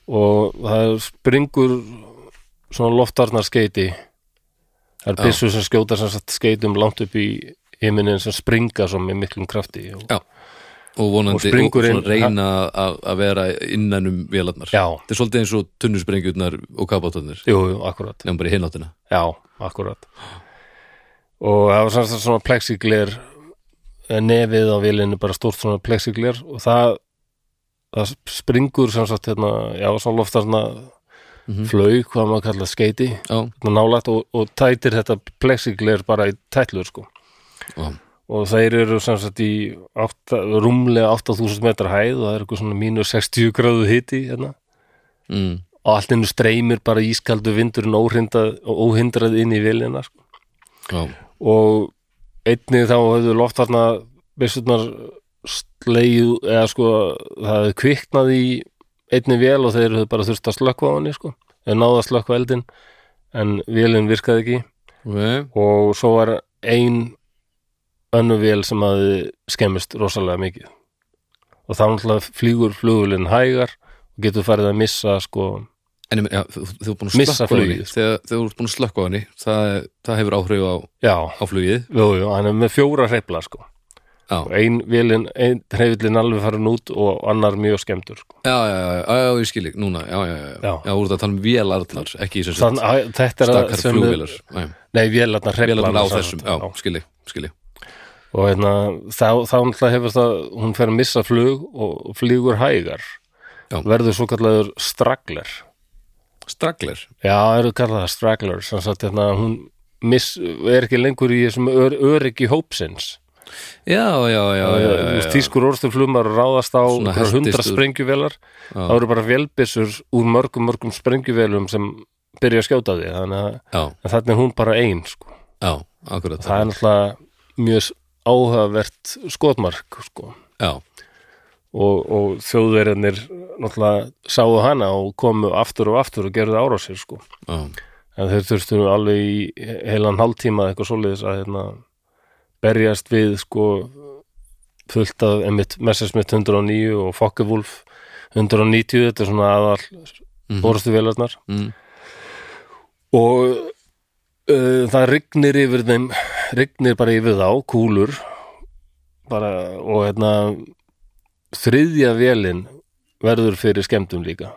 og það springur svona loftarnar skeiti það er
Já.
byssu sem skjóta sem sagt skeitum langt upp í himinin sem springa svo með miklum krafti og,
já. Og
Og
vonandi, og,
springurinn-
svona reyna að að vera innan um vélarnar.
já,
Þetta er svolítið eins og tunnusprengjurnar og kapátarnir,
jú, jú, akkurat
nefnum bara í hináttina.
já, akkurat og það var sem sagt svona plexiglir nefið á vilinu bara stórt svona plexiglir og það það springur sem sagt hérna, já, svona loftarna
Mhm.
flaug, hvað maður kallað skeiti
Já,
nálægt og, og tætir þetta plexiglir bara í tætlur sko
já,
og þeir eru sem sagt í átta, rúmlega 8000 metra hæð og það er eitthvað svona mínus 60 gráðu hiti hérna.
mm.
og allt innu streymir bara ískaldu vindurinn óhindrað, óhindrað inn í vilina sko.
já,
og einnig þá höfðu loftvarna byssurnar slegið eða sko það hefði kviknað í einni vél og þeir höfðu bara þurft að slökkva á henni sko þeir náðu að slökkva eldin en vélinn virkaði ekki
ok,
og svo var ein önnu vél sem hafði skemmist rosalega mikið og þá náttúrulega flýgur flugulinn hægar og getur farið að missa sko,
En ég meina, já, þú, þú er búin að
Missa
slökkva á henni
flugið, sko.
þegar, þegar þú er búin að slökkva á henni það, það hefur áhrif á,
já,
á flugið
jú, jú, hann er með fjóra hreifla sko,
Já,
og ein vélinn ein hreiflinn alveg farin út og annar mjög skemmtur sko.
já, já, já, já, já ég skil ekki, núna já, já, já, já,
Já.
já, þú ert að tala um vélarnar ekki í þessu
Þann, að, þetta er að
stakkar
sem-
flugvélar Nei,
nei, vélarnar
vélarnar á
hreiflarnar sem
þessum,
sagt,
já, skil ég, skil ég
og hérna, þá, þá náttúrulega hefur það hún fer að missa flug og flýgur hægar
Já.
verður svo kallaður straggler
Straggler,
Já, það eru kallað það straggler sem sagt hérna, hún miss, er ekki lengur í þessum ör, öryggi hópsins
já, já, já, já, já, já, já.
Tískur orðstuflumar ráðast á
Svona
einhverjar
heltist
hundra
úr-
sprengjuvelar
Já.
það eru bara vélbissur úr mörgum mörgum sprengjuvelum sem byrja að skjóta því þannig að
já,
en þarna er hún bara ein sko.
já, akkurat
það er náttúrulega mjög s- áhugavert skotmark sko.
Já,
og, og þjóðverðinir náttúrulega sáu hana og komu aftur og aftur og gerðu árásir sko.
já,
en þeir þurftu nú alveg í heilan hálftíma eða eitthvað svoleiðis að hérna, berjast við sko fullt af emitt Messersmith 109 og Fokkevulf 190, þetta er svona aðal mm.
Mhm.
orðstu vélarnar
mm,
og uh, það rignir yfir þeim rignir bara yfir þá, kúlur bara og hérna þriðja vélin verður fyrir skemmtum líka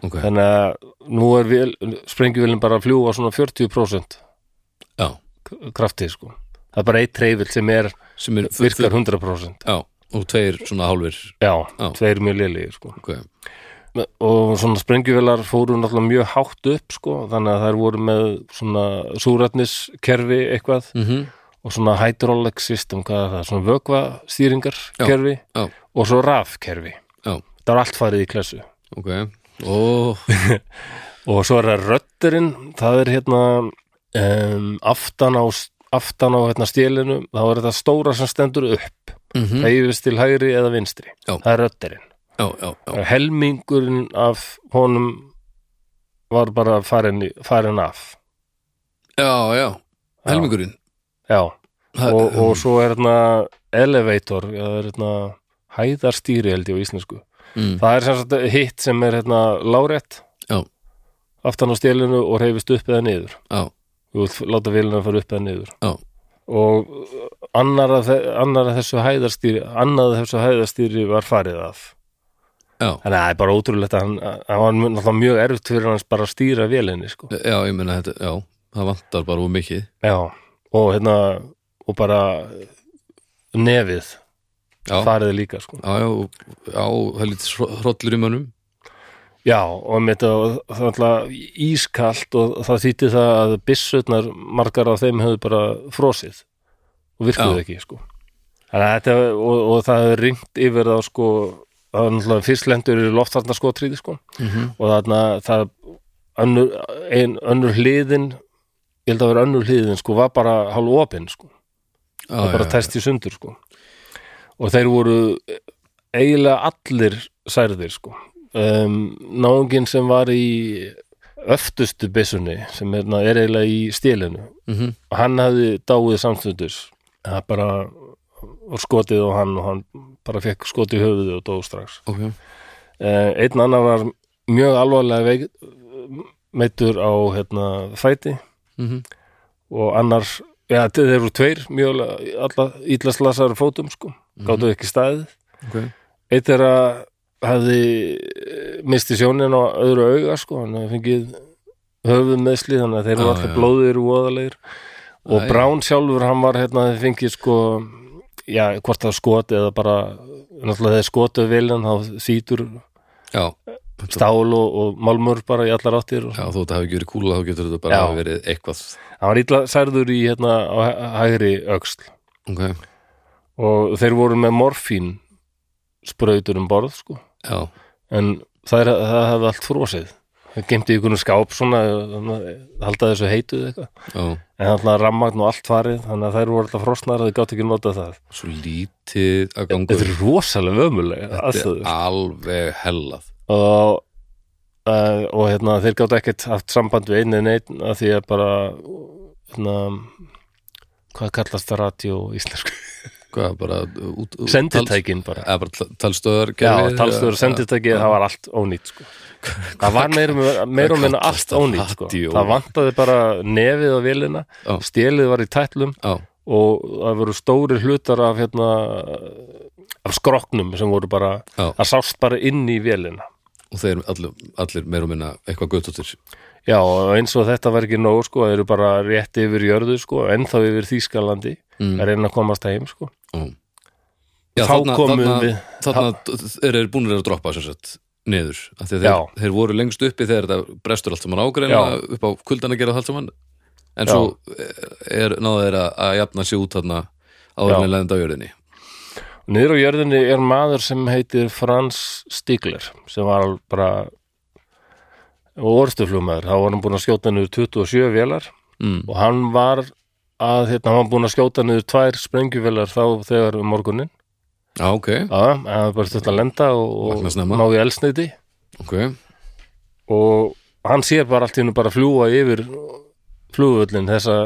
ok,
þannig að nú er vél, sprengjuvélin bara að fljúga svona 40%
já
k- kraftið sko það er bara eitt treyfill sem er
sem er
virkar 100%
Já, og tveir svona hálfir
já,
Já.
tveir mjög liðlegir sko
Ok,
og svona sprengjuvelar fóru náttúrulega mjög hátt upp sko þannig að þær voru með svona súrætniskerfi eitthvað
mm
og svona hydraulic system, hvað er það, svona vökvastýringar kerfi
já,
og svo rafkerfi
já,
það er allt farið í klessu
ok Ó,
og svo er það rötturinn það er hérna um, aftan á, aftan á hérna, stélinu þá er þetta stóra sem stendur upp
mhm,
það yfirst til hægri eða vinstri
Já.
það er rötturinn
já, já, já
helmingurinn af honum var bara farin, farin af
Já, já, helmingurinn
já,
Það-
og, og svo er hérna elevator, það er hérna hæðarstýri held ég á íslensku
mm,
það er sem sagt hitt sem er hérna lárétt
Já.
aftan á stélinu og reyfist upp eða niður
Já,
þú vilt láta vélina fara upp eða niður
Já.
og uh, annar af, þe- annar af þessu hæðarstýri annar af þessu hæðarstýri var farið af
já,
þannig að það er bara ótrúlegt að hann, hann var mjög- náttúrulega mjög erfitt fyrir hans bara að stýra vélinni sko.
já, ég meina þetta, já Það vantar bara úr mikið
já, og hérna og bara nefið
Já,
farið líka sko.
já, já, og- já, það er lítið hrollur í mönnum
já, og með þetta og það var alltaf ískalt og það þýtti það að byssutnar margar af þeim höfðu bara frosið og virkuðu
Já.
ekki sko. Þannig að þetta, og, og það hefur ringt yfir þá sko, það var náttúrulega fyrst lendur í loftvarna skotríði sko og þarna það önnur, ein, önnur hliðin ég held að vera önnur hliðin sko var bara hálf opin sko,
Á,
það bara tæst í sundur sko og þeir voru eiginlega allir særðir sko um, náungin sem var í öftustu byssunni sem er, na, er eiginlega í stílinu
Mhm.
og hann hafði dáið samstundis það bara var skotið og hann og hann bara fekk skotið í höfuðið og dóð strax
ok,
eh, einn annar var mjög alvarlega veik, meittur á hérna, fæti
Mhm.
og annar ja, þeir eru tveir mjög alla ítlaslasar fótum sko,
Mhm.
gáttu ekki staðið
ok
eitt er að hafði eh, misti sjónin á öðru auga sko, hann hafði fengið höfuð meðsli þannig að þeir eru
Ah, Já,
allir
já.
blóðir og voðalegir og
Æ.
Brown sjálfur hann var hérna þeir fengið sko já, hvort það skot eða bara náttúrulega þeir skotuð vel en þá þýtur
já,
stál og, og málmur bara í allar áttir og
já þó þetta hafi ekki verið kúla þá getur þetta bara
Já.
hafa verið eitthvað
hann var illa særður í hérna á hæ- hægri öxl
ok,
og þeir voru með morfín sprautur um borð sko
já,
en það, er, það hefði allt frosið það gemdi í einhvern skáp svona halda þessu heituð eitthvað
já
en þannig að rammagn og allt farið þannig að þær voru alltaf frosnar að þau gátt ekki nota það sko.
svo lítið að ganga
þetta er rosalega ömulega
Þetta er
aðstöður
alveg hellað
og, uh, og hérna, þeir gátt ekkert haft samband við einu en einn af því að bara hérna, hvað kallast það radio í íslensku
hvað, bara út, út
senditækin bara
eða bara tal- talstöðar
Já, talstöður og senditæki, það var allt ónýtt sko. Það var meira og- meira og minna allt
kallast það?
ónýtt sko.
Radio.
Það vantaði bara nefið á vélina,
Já.
stélið var í tætlum
já,
og það voru stóri hlutar af, hérna, af skroknum sem voru bara,
Já.
það sást bara inn í vélina.
og þeir allir, allir meira og minna eitthvað göttóttir
Já, og eins og þetta var ekki nóg sko, það eru bara rétt yfir jörðu sko, ennþá yfir Þýskalandi,
Mm.
að reyna að komast heim sko.
já,
Þá komum við-
þarna þeir eru búinir að droppa sem sagt niður, af því að þeir, þeir voru lengst uppi þegar þetta brestur allt saman ágreina
Já.
upp á kuldan að gera það allt saman en
Já.
svo eh, er náðu þeir að, að jafna sér út þarna
Já.
áðurinn lenda á jörðinni
Niður á jörðinni er maður sem heitir Franz Stigler sem var alveg bara orðstuflumæður, þá var hann búin að skjóta niður 27 vélar
mm.
og hann var að hérna, hann var búin að skjóta niður tvær sprengjuvélar þá þegar um morgunin
já, ok,
Já, en það var bara stöðt að lenda og,
Vakna
og
snemma.
ná í elsneiti
ok
og hann sér bara allt í hennu bara fljúa yfir flugvöllin þessa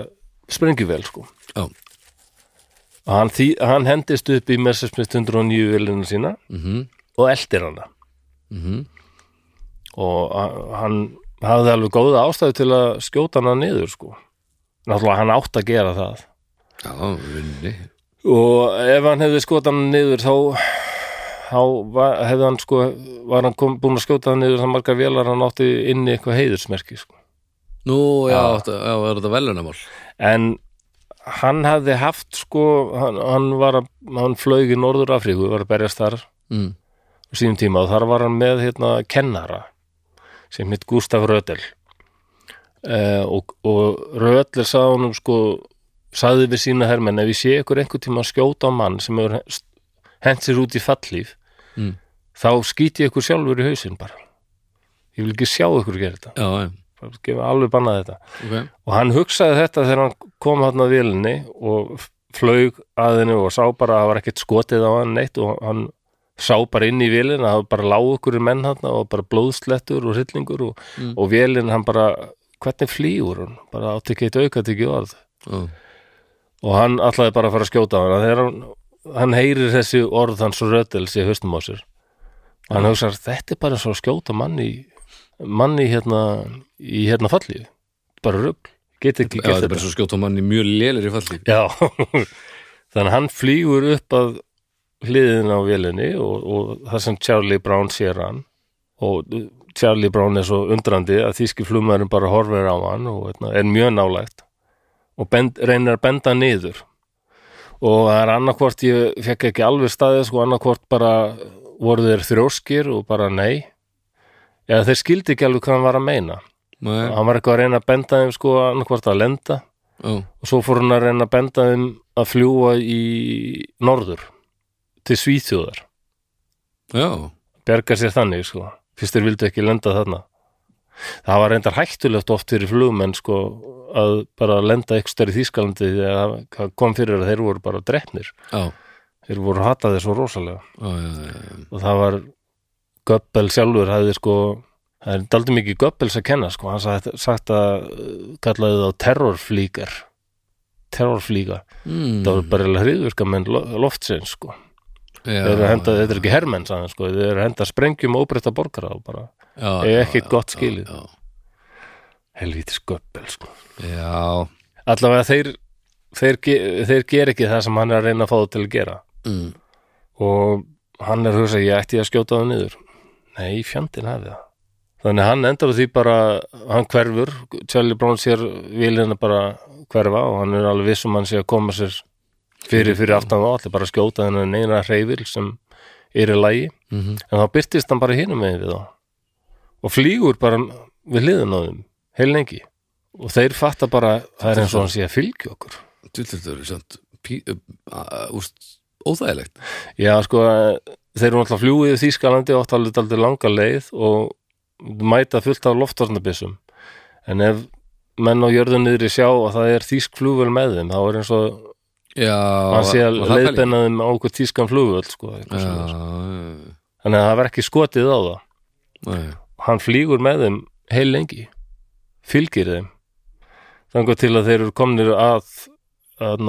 sprengjuvél sko
já,
og hann, því, hann hendist upp í Messerschmitt 109 vélina sína
mhm,
og eldir hana
mhm
og a- hann hafði alveg góða ástæðu til að skjóta hana niður sko náttúrulega hann átt að gera það
já, vinni
og ef hann hefði skota hana niður þá, þá var, hefði hann sko var hann kom, búin að skjóta hana niður það margar vélar hann átti inni eitthvað heiðursmerki sko.
nú, já,
Já.
þetta- já, er þetta velunamál
en hann hafði haft sko hann, hann var að, hann flög í Norður Afríku var að berjast þar
mm.
á sínum tíma og þar var hann með hérna kennara sem hitt Gustaf Rödel eh, og, og Rödel sagði honum sko sagði við sína hermenn ef ég sé ykkur einhver tíma að skjóta á mann sem hefur hent sér út í fallíf
Mm.
þá skýti ég ykkur sjálfur í hausinn bara ég vil ekki sjá ykkur gera þetta
já, já,
Bara gefa alveg bannað þetta
ok
og hann hugsaði þetta þegar hann kom hann að vélinni og flög að henni og sá bara að það var ekkert skotið á hann neitt og hann sá bara inn í vélina það var bara lág okkur menn hann og bara blóðslettur og hryllingur og,
Mm.
og vélin hann bara, hvernig flýgur hann bara átti ekki eitt auka til ekki orð
já,
og hann ætlaði bara að fara að skjóta á hann þegar hann, hann heyrir þessi orð hans röddels í haustum á sér og hann hugsar, þetta er bara eins og að skjóta manni manni hérna í hérna fallið, bara rugl get ekki
já
gert
þetta er
þetta
bara svo skjóta mann í mjög lélir í falli
Já, þannig að hann flýgur upp að hliðin á vélinni og, og það sem Charlie Brown sér hann og uh, Charlie Brown er svo undrandi að þíski flugmaðurinn bara horfir á hann og veitna, er mjög nálægt og bend, reynir að benda niður og það er annarkvort ég fekk ekki alveg staðið sko annarkvort bara voru þeir þrjóskir og bara nei eða þeir skildi ekki alveg hvað hann var að meina
Nei,
hann var eitthvað að reyna að benda þeim sko annarkvort að lenda
já,
og svo fór hann að reyna að benda þeim að fljúa í norður til Svíþjóðar
já,
bjarga sér þannig sko fyrst þeir vildu ekki lenda þarna það var reyndar hættulegt oft fyrir flugmenn sko að bara lenda ykkur stær í Þýskalandi þegar það- það kom fyrir að þeir voru bara drefnir
já,
þeir voru hataðir svo rosalega
já, já, já, já.
og það var Göbbel sjálfur hafði sko það er daldi mikið Göbbels að kenna sko hann sagt, sagt að uh, kallaði þá terrorflíkar terrorflíka,
Mm,
það var bara hriðurka menn loftsins sko
já,
þeir eru að henda,
já,
þetta er ekki hermenn sagði, hann, sko. þeir eru að henda sprengjum og óbreytta borgara og bara
já,
eiga
já,
ekkert
já,
gott
já,
skilið.
já,
helvítis Göbbel sko
já,
allavega þeir, þeir, ge- þeir ger ekki það sem hann er að reyna að fá það til að gera
mm,
og hann er að hugsa ég ætti að skjóta það niður nei, fjandinn hafi það þannig að hann endur á því bara hann hverfur, Charlie Brown sér vilina bara hverfa og hann er alveg viss um að hann sé að koma sér fyrir fyrir aftan og allir bara að skjóta þennan eina reyfil sem er í lagi
mhm,
en þá byrtist hann bara hinum megin við þá og flýgur bara við hliðin á þeim heillengi og þeir fatta bara það er eins og hann sé að fylgja okkur
Dullutur er samt pí- uh, uh, úst, óþægilegt
Já, sko, þeir eru náttúrulega fljúið í Þýskalandi og átt alveg daldið langa leið og mæta fullt af loftvarnabissum. En ef menn á jörðu niðri sjá að það er þýsk flugvöl með þeim, þá er eins og
Já,
hann sé að
var það pæling?
leiðbeina þeim á okkur þýskan flugvöl, sko. eitthvað
Já,
svoleiðis.
já,
Þannig að það verð ekki skotið á það.
já, já,
Hann flýgur með þeim heil lengi, fylgir þeim. Þangar til að þeir eru komnir að, að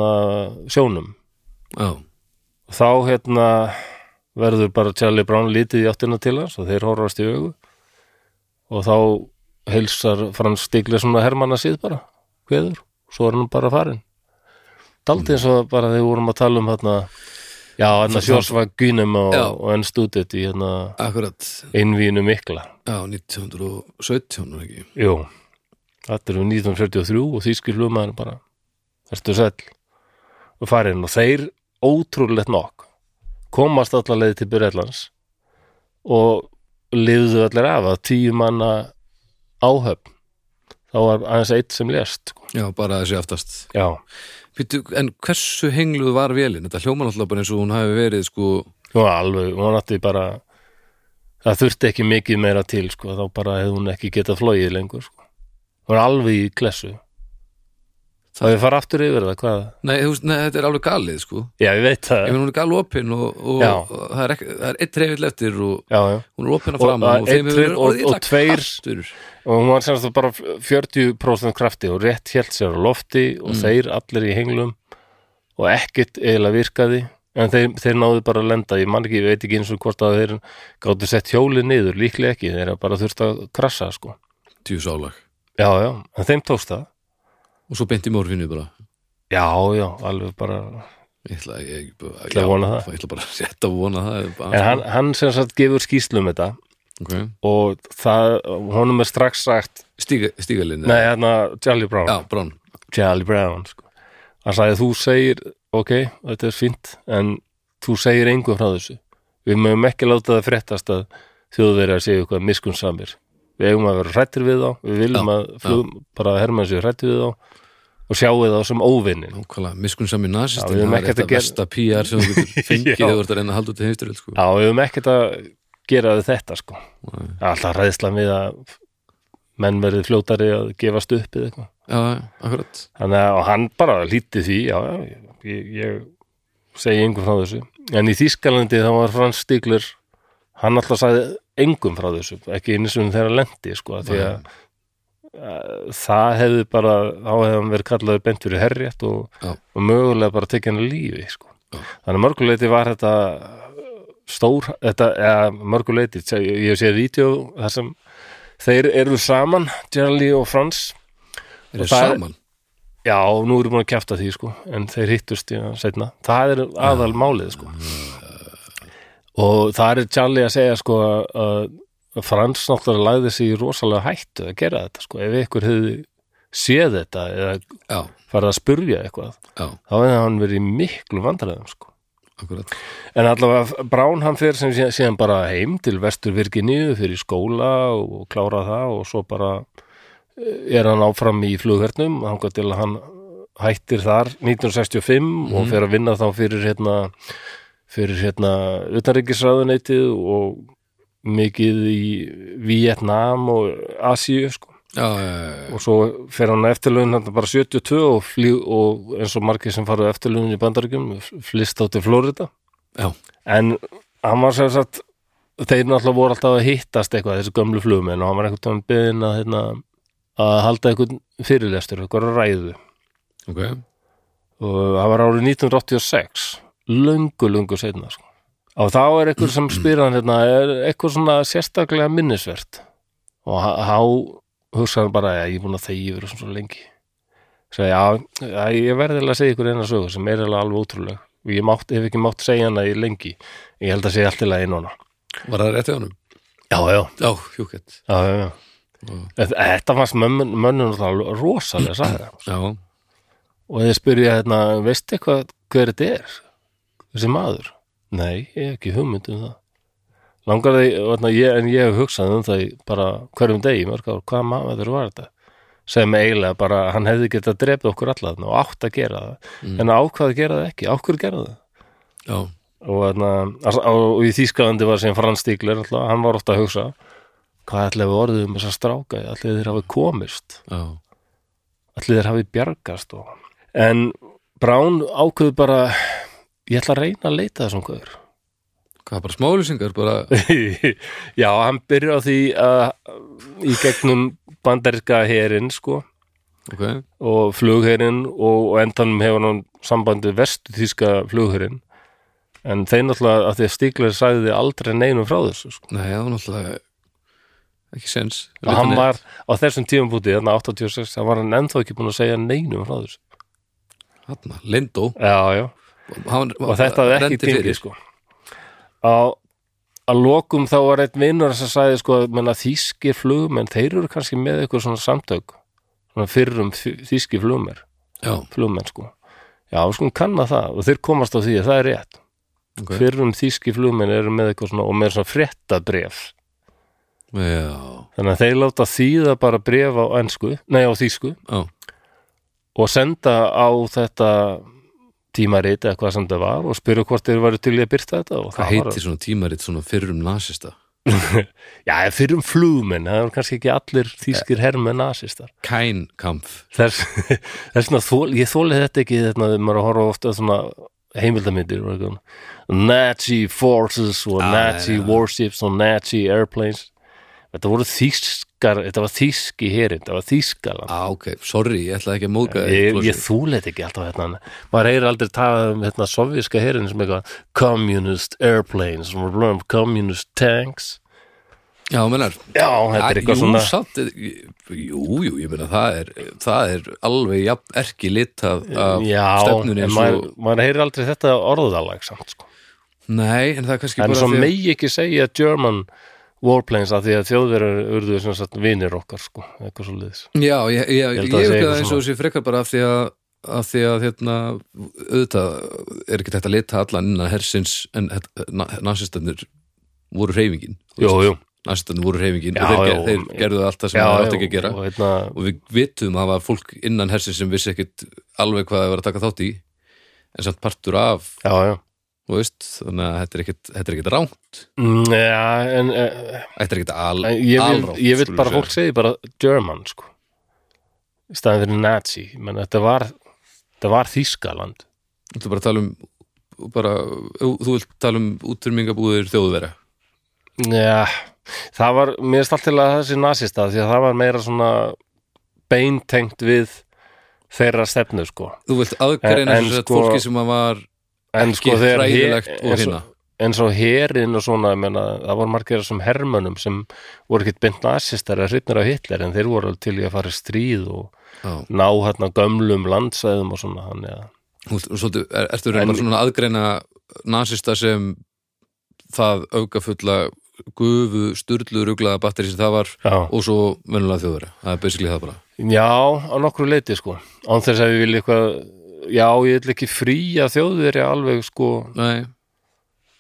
sjónum.
já,
og þá hérna verður bara Charlie Brown lítið í áttina til hans og þeir horfast í augu og þá heilsar Frans Stigleson og Hermanna síð bara hveður, svo er hann bara farin daldið eins og bara þegar við vorum að tala um hérna, já, hérna
Það-
Sjórsva Gynum og,
Já.
og enn stúdið í hérna
akkurat
innvínu mikla
Já, 1917 er ekki
jú, þetta eru 1943 og þýski flugmaður bara ertu sæll og farin og þeir ótrúlegt nokk komast allar leið til Byrjætlands og lifðu allir af að tíu manna áhöfn þá var aðeins eitt sem lést sko.
Já, bara þessi aftast
já,
Pítu, En hversu hengluð var vélin? Þetta hljóma náttúrulega bara eins og hún hafi verið sko,
hún var alveg hún átti bara það þurfti ekki mikið meira til sko, þá bara hefði hún ekki getað flogið lengur sko. hún var alveg í klessu það við fara aftur yfir það hvað?
nei, þú veist, nei, þetta er alveg galið sko.
já, ég veit
Ég
það
meina, hún er galið opin og, og
Já.
það er, ekki, það er eitt reyfill eftir og
já, já.
hún er opin að
Og-
fram og,
og
þeim
einn,
hefur verið
og-
orðið
og
illa
tveir-
kaltur.
og hún var semst bara 40% krafti og rétt hélt sér á lofti og þeir allir í henglum og ekkert eiginlega virkaði en þeir, þeir náðu bara að lenda ég man ekki, ég veit ekki eins og hvort að þeir gáttu sett hjólið niður, líklega ekki þeir bara þurfti að krassa sko
Tjú sálag
já, já, en þeim tókst það
Og svo beint í morfinu bara
já, já, alveg bara
Ég ætla, ég, ég,
Ætla að vona það.
Ég ætla bara að setja að vona það bara,
en hann, hann sem sagt gefur skýslu um þetta
okay.
og það, honum er strax sagt
Stíga, Stígalinni
nei, hérna, Charlie Brown
Já, Brown
Charlie Brown sko. hann sagði þú segir ok, þetta er fínt en þú segir engum frá þessu við mögum ekki láta það fréttast að þjóðverið að segja eitthvað miskun samir við eigum að vera hrættir við þá við viljum
Já,
að flug, bara hermenn séu hrættir við þá og sjáu þá sem óvinnin
Nákvæmlega, miskun sami
Já, við
nasistin
höfum
Það er
ekkert
þetta
að gera-
versta PR sem þú getur fengið
Já.
þegar þú ert að reyna að halda út í heimstyrjöld sko.
já, við höfum ekkert að gera við þetta sko alltaf hræðslan við að menn verið fljótari að gefast upp eða eitthvað
Já, já, akkurat
Þannig að og hann bara lítið því, já, já, ég, ég segi engum frá þessu. En í Þýskalandi þá var Frans Stigler, hann alltaf sagði engum frá þessu, ekki eins og þeirra lendi, sko, af því að að það hefði bara, þá hefði hann verið kallaður bent fyrir herrétt og,
Já.
og mögulega bara tekið hann af lífi, sko.
Já.
Þannig að mörguleiti var þetta stór, þetta, eða mörguleiti, ég ég hef séð vídeo þar sem þeir eru saman, Charlie og Frans,
Er það
það er-
saman?
Já, nú erum við búin að kæfta því sko en þeir hittust í setna það er aðal málið sko og það er Charlie að segja sko að að Frans náttúrulega lagði sig í rosalega hættu að gera þetta sko ef ykkur hefði séð þetta eða
Já,
farið að spurja eitthvað
já,
þá hefði hann verið í miklu vandræðum sko
akkurat
En allavega Brown hann fyrir sem sé- síðan bara heim til vestur Virginíu fyrir skóla og klára það og svo bara eh, er hann áfram í flughernum þangað til að hann hættir þar 1965 og fer að vinna þá fyrir hérna fyrir hérna utanríkisráðuneytið og mikið í Vietnam og Asíu sko.
já, já, já,
Eh. og svo fer hann á eftirlaun hann bara 72 og, flý, og eins og margir sem farið eftirlaun í bandaríkjum flýst á til Florida
já,
en hann var sem sagt þeir náttúrulega voru alltaf að hittast eitthvað þessi gömlu flugmenn og hann var eitthvað um byðin að, hérna, að halda eitthvað fyrirlestur, eitthvað ræðu
ok
og það var árið 1986 löngu, löngu seinna sko. og þá er eitthvað sem spyr hann hérna, er eitthvað svona sérstaklega minnisvert og há- há hugsa hann bara, "Já, ég er búin að þegi verið svona svo lengi sagði, já, já, ég verðilega að segja ykkur eina sögu sem er eiginlega alveg ótrúleg og ég mátt, hef ekki mátt segja hana í lengi ég held að segja allt í lagi núna
var það rétt hjá honum?
já, já,
já, hjúkett
já, já, já. Þetta- Þetta fannst mönnum mönnum náttúrulega rosalega sagði
já,
og þeir spyrja hérna, veistu eitthvað hver þetta er? Þessi maður? Nei, ég hef ekki hugmynd um það. Langar þið, hérna, ég, en ég hef hugsað um það í bara hverjum degi, í mörg ár, hvaða maður var þetta? Sem eiginlega bara, hann hefði getað drepið okkur alla þarna og átt að gera það, en ákvað að gera það ekki, ákvör gera það.
já,
Og, hérna, as- og, og í Þýskalandi var sem Frans Stíkler, alltaf, hann var ofta að hugsa, hvað ætlaði við orðið um þessa stráka, ætlaði þeir hafi komist
já
allir þeir hafi bjargast og... en Brown ákveðu bara ég ætla að reyna að leita þessum guður
hvað, bara smálýsingar, bara
já, hann byrja á því að í gegnum bandaríska herin sko
ok,
og flugherin og, og endanum hefur hann sambandið vestu þýska flugherin en þeir náttúrulega að því að Stíkler sagði aldrei neinum frá þessu sko.
nei, það var náttúrulega ekki sens
og hann var á þessum tímabúti þarna 86, hann var hann ennþá ekki búin að segja neinum frá þessu
hann, Lindó
já, já
hann,
og þetta hafði ekki
renndi
gengið sko. á að lokum þá var einn vinnur sem sagði sko að menna, þýski flugmenn, þeir eru kannski með eitthvað svona samtök svona fyrrum þý- þýski flugmenn,
já,
flugmenn sko já, við skulum kanna það og þeir komast á því að það er rétt
ok,
fyrrum þýski flugmenn eru með eitthvað svona og með svona fréttabref
já,
þannig að þeir láta þýða bara bref á ensku, nei á þýsku
já
og senda á þetta tímarit eða hvað sem það var og spyrja hvort þeir varu til í að byrta þetta og
hvað
það var-
heitir svona tímaritt svona fyrrum nasista?
Já, fyrir um flugmenn, það eru kannski ekki allir þýskir herrmenn nasistar.
Kænkampf
Þess, þess vegna, þól, ég þóli þetta ekki þetta þegar maður horfa ofta svona heimildamindir og eitthvað. Nazi forces og
Ah,
Nazi
já, já.
warships og Nazi airplanes. Þetta voru þýskar, þetta var þýski herin, þetta var þýskaland.
ah, ok, sorry, ég ætlaði ekki að móka þig,
Ég,
Klossi.
ég þúli þetta ekki alltaf hérna. Maður heyri aldrei talað um hérna sovjíska herin sem eitthvað communist airplanes, sem voru blöðum communist tanks. Ah,
Já, mennar
Já, þetta er eitthvað svona...
Jú, samt, er- jú, jú, ég meina það er, það er alveg jafn erki lit af, af
Já,
stefnunni
en
eins
maður,
og
maður heyrir aldrei þetta orðalag samt sko.
Nei, en það er kannski
en
bara
svo
því að-
megi ekki segja German warplanes að því að þjóðverður urðu sem sagt vinir okkar sko, eitthvað svo liðs
Já, ég,
Ég
ég, ég,
held að það sé
ég hugsa
eitthvað
það eins og þessi frekar bara af því að af því að hérna auðvitað er ekki þetta að lita allan innan hersins en nasistannir voru hreyfingin
Jú, jú,
nasistannir voru hreyfingin
Já,
og þeir,
já,
já,
og-
þeir gerðu allt það sem
já,
það átt
já,
ekki að gera
og hérna,
og við vitum að það var fólk innan hersins sem vissi ekkit alveg hvað það var að taka þátt í en samt partur af
já, já
þú veist, þannig að þetta er ekkit, þetta er ekkit rámt
Mm, Já, en eh,
þetta er ekkit al,
en ég vil,
alrámt
ég vil
skulum
bara
við
fólk segi bara German sko í staðin fyrir Nazi menn þetta var, þetta var Þýskaland
segja. þú bara tala um bara, þú vilt tala um útrymingabúðir þjóðvera
Já, það var mér er stalt til að þessi nasista því að það var meira svona beintengt við þeirra stefnu sko
þú vilt
En-
aðgreina
en
þess að
sko-
fólki sem að var
en
ekki
sko þegar
hræðilegt
he-
og
eins
hinna
eins og herin og svona ég menna, það voru margir þessum hermönum sem voru ekkit beint nasistar að hrifnir af Hitler en þeir voru alveg til í að fara í stríð og
Já.
ná hérna gömlum landsæðum og svona hann, ja.
Þú vilt- svolítið, er, ertu reyna svona að aðgreina nasista sem það aukafulla gufu, sturlu, ruglaða batteri sem það var
já.
og svo vennulega þjóðvera það er basically það bara
já, á nokkru leiti sko án þess að ég vilja eitthvað já, ég vil ekki fría þjóðveri alveg sko
Nei,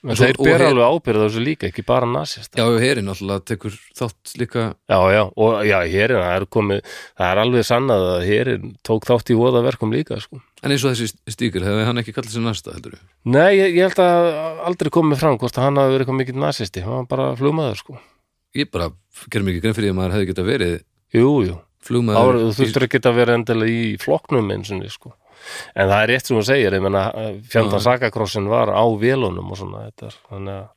En
svo-
þeir
og
bera
her-
alveg ábyrða þessu líka, ekki bara nasista.
Já, og herin alltaf tekur þátt líka
Já, já, og já, hérin, það er komið, það er alveg sannað að hérin tók þátt í voðaverkum líka, sko.
En eins og þessi stíkur, hefði hann ekki kallað sér næsta, heldur við
Nei, ég, ég held að aldrei komið fram hvort að hann hafi verið eitthvað mikill nasisti, hann var bara flugmaður, sko.
Ég bara gerum ekki grein fyrir því að maður hefði getað verið
Jú, jú,
flugmaður
Ára, þú þurftur ekki að vera endilega í flokknum eins og sko. En það er rétt sem hún segir, ég menna fjöndan
Já.
sakakrossin var á vélunum og svona, þetta er, þannig að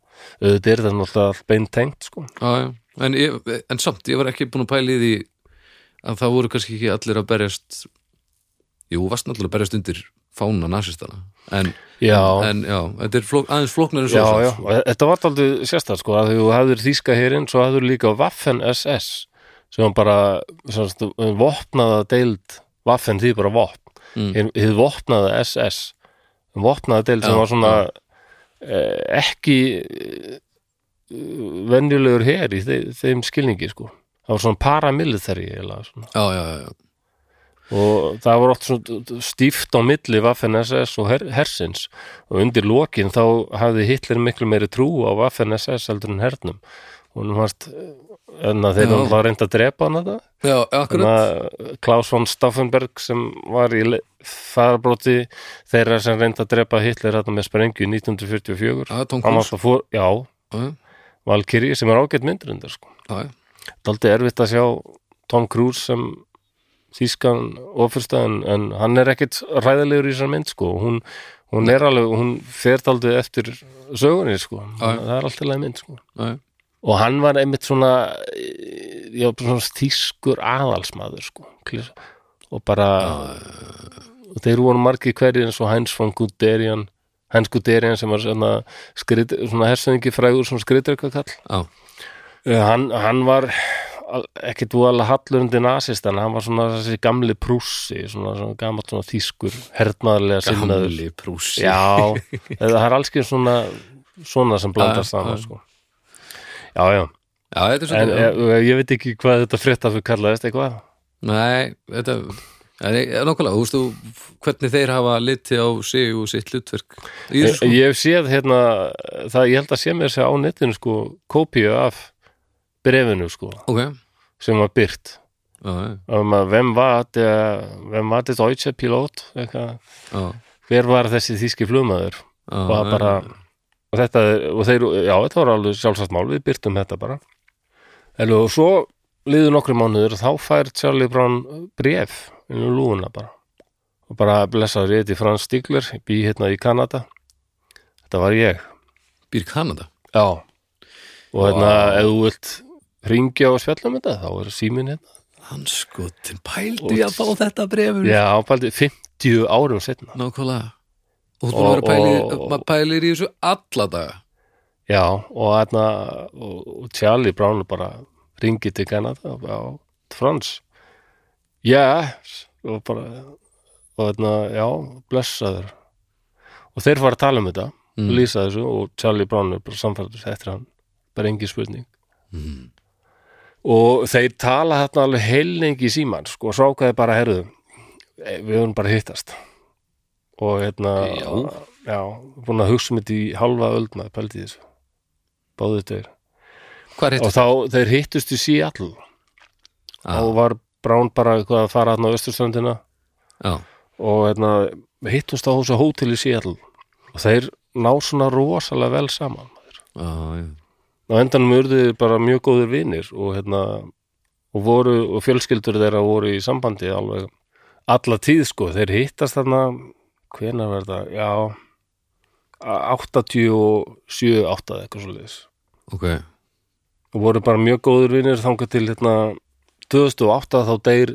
auðvitað er þetta náttúrulega beintengt, sko.
Já, já. En, ég, en samt, ég var ekki búin að pæla í því að það voru kannski ekki allir að berjast Jú, varst náttúrulega að berjast undir fána nasistana En,
Já,
en já, þetta er flók, aðeins flóknar en
já,
svo
já, og þetta var aldrei sérstæð, sko, að þú hafður þýska hérinn, svo hafður líka Waffen SS, sem var bara, sem sagt, vopnaða deild, Waffen því bara vopn,
Mm.
hið hið vopnaða SS, vopnaða deild sem
Já,
var svona eh, ekki eh, venjulegur her í þeim, þeim skilningi, sko. Það var svona paramilitary, eða svona.
já, já, já, já.
Og það var oft svona stíft á milli Waffen SS og her, hersins og undir lokin þá hafði Hitler miklu meiri trú á Waffen SS heldur en hernum. Og nú varst, en að þeir
Já.
eru alltaf reynd að drepa hann þetta.
Já, akkurat
Þannig að eh, Klaus von Stauffenberg sem var í le- farbróti þeirra sem reyndi að drepa Hitler þarna með sprengju 1944
Já,
hann
Tom Cruise
alltaf fór, já,
Já,
Valkyrie sem er ágætt myndur undar sko.
já, já.
Daldi erfitt að sjá Tom Cruise sem þýskan ofursta en, en hann er ekkit ræðilegur í þessar mynd sko. hún, hún er alveg, hún fer daldið eftir sögunni sko.
Já.
það er alltaf leið mynd sko.
já, já.
og hann var einmitt svona eh, já, bara svona þýskur aðalsmaður sko Klir- og bara og þeir voru margir hverjir eins og Heinz von Guderian Heinz Guderian sem var svona, skrit, svona hersöðingi frægur sem skritrykka kall
Já.
Eh, hann, hann var al- ekkit voðalega hallur undir nasist en hann var svona þessi gamli prússi svona, svona gamalt svona þýskur hernaðarlega sinnaður
Gamli prúsi
Já, það er alls ekki svona svona sem blandast
Já,
saman
já.
sko. Já, já
Já, þetta er
En eh,
svolítið já.
ég, ég veit ekki hvað þetta fréttafur kallaðist eitthvað.
Nei, þetta Nei, Nákvæmlega, þú veist þú hvernig þeir hafa litið á sig og sitt hlutverk í
Ég,
þessu sko?
Eh, ég hef séð hérna, það ég held að sé mér sér á netinu sko, kópíu af brefinu sko,
Ok,
sem var byrt.
já, já,
Um að hvem var þetta, hvem var þetta Deutsche Pilot, eitthvað,
já,
hver var þessi þýski flugmaður?
já
Og það
já.
bara, og þetta, er- og þeir, já, þetta var alveg sjálfsagt mál, við byrtum þetta bara. En og svo liðu nokkri mánuður og þá fær Charlie Brown bref inn um lúuna bara. Og bara blessaður, ég heiti Frans Stigler, ég bý hérna í Kanada. Þetta var ég.
Býr Kanada
Já. Og hérna,
Vá.
ef þú vilt ringja og spjalla um þetta, þá er síminn hérna.
Hann sko til pældi að fá þetta brefur
Já, ápældi 50 árum setna.
Nákvæmlega Og þú er
Og-
búin að vera pælir,
og-
maður pælir í þessu alla daga
Já, og hérna, og, og Charlie Brown bara ringið til Kanada og bara, Frans, já, og bara, og hérna, já, blessaður. Og þeir fara að tala um þetta,
Mm.
lýsa þessu og Charlie Brown er bara samfæður eftir hann, bara engi spurning.
Mm.
Og þeir tala þarna alveg heilningi í símann, sko, og svo ákveði bara, herðu, eh, við höfum bara hittast. Og hérna,
Já.
já búin að hugsa um þetta í halva öld maður, pældi í þessu. Báðu þetta
Hvað er
og
þetta?
þá þeir hittust í Seattle
Ah,
og var Brown bara eitthvað að fara hann á Östurströndina
já,
og hérna, hittust á þessu hótel í Seattle og þeir ná svona rosalega vel saman
já, já
og endanum urðu þeir bara mjög góður vinir og hérna og, voru, og fjölskyldur þeirra voru í sambandi alveg alla tíð sko þeir hittast þarna hvenær var þetta, já 87, 8 eitthvað svo leis
Ok,
og voru bara mjög góður vinnir þangað til hérna 2008 þá deyr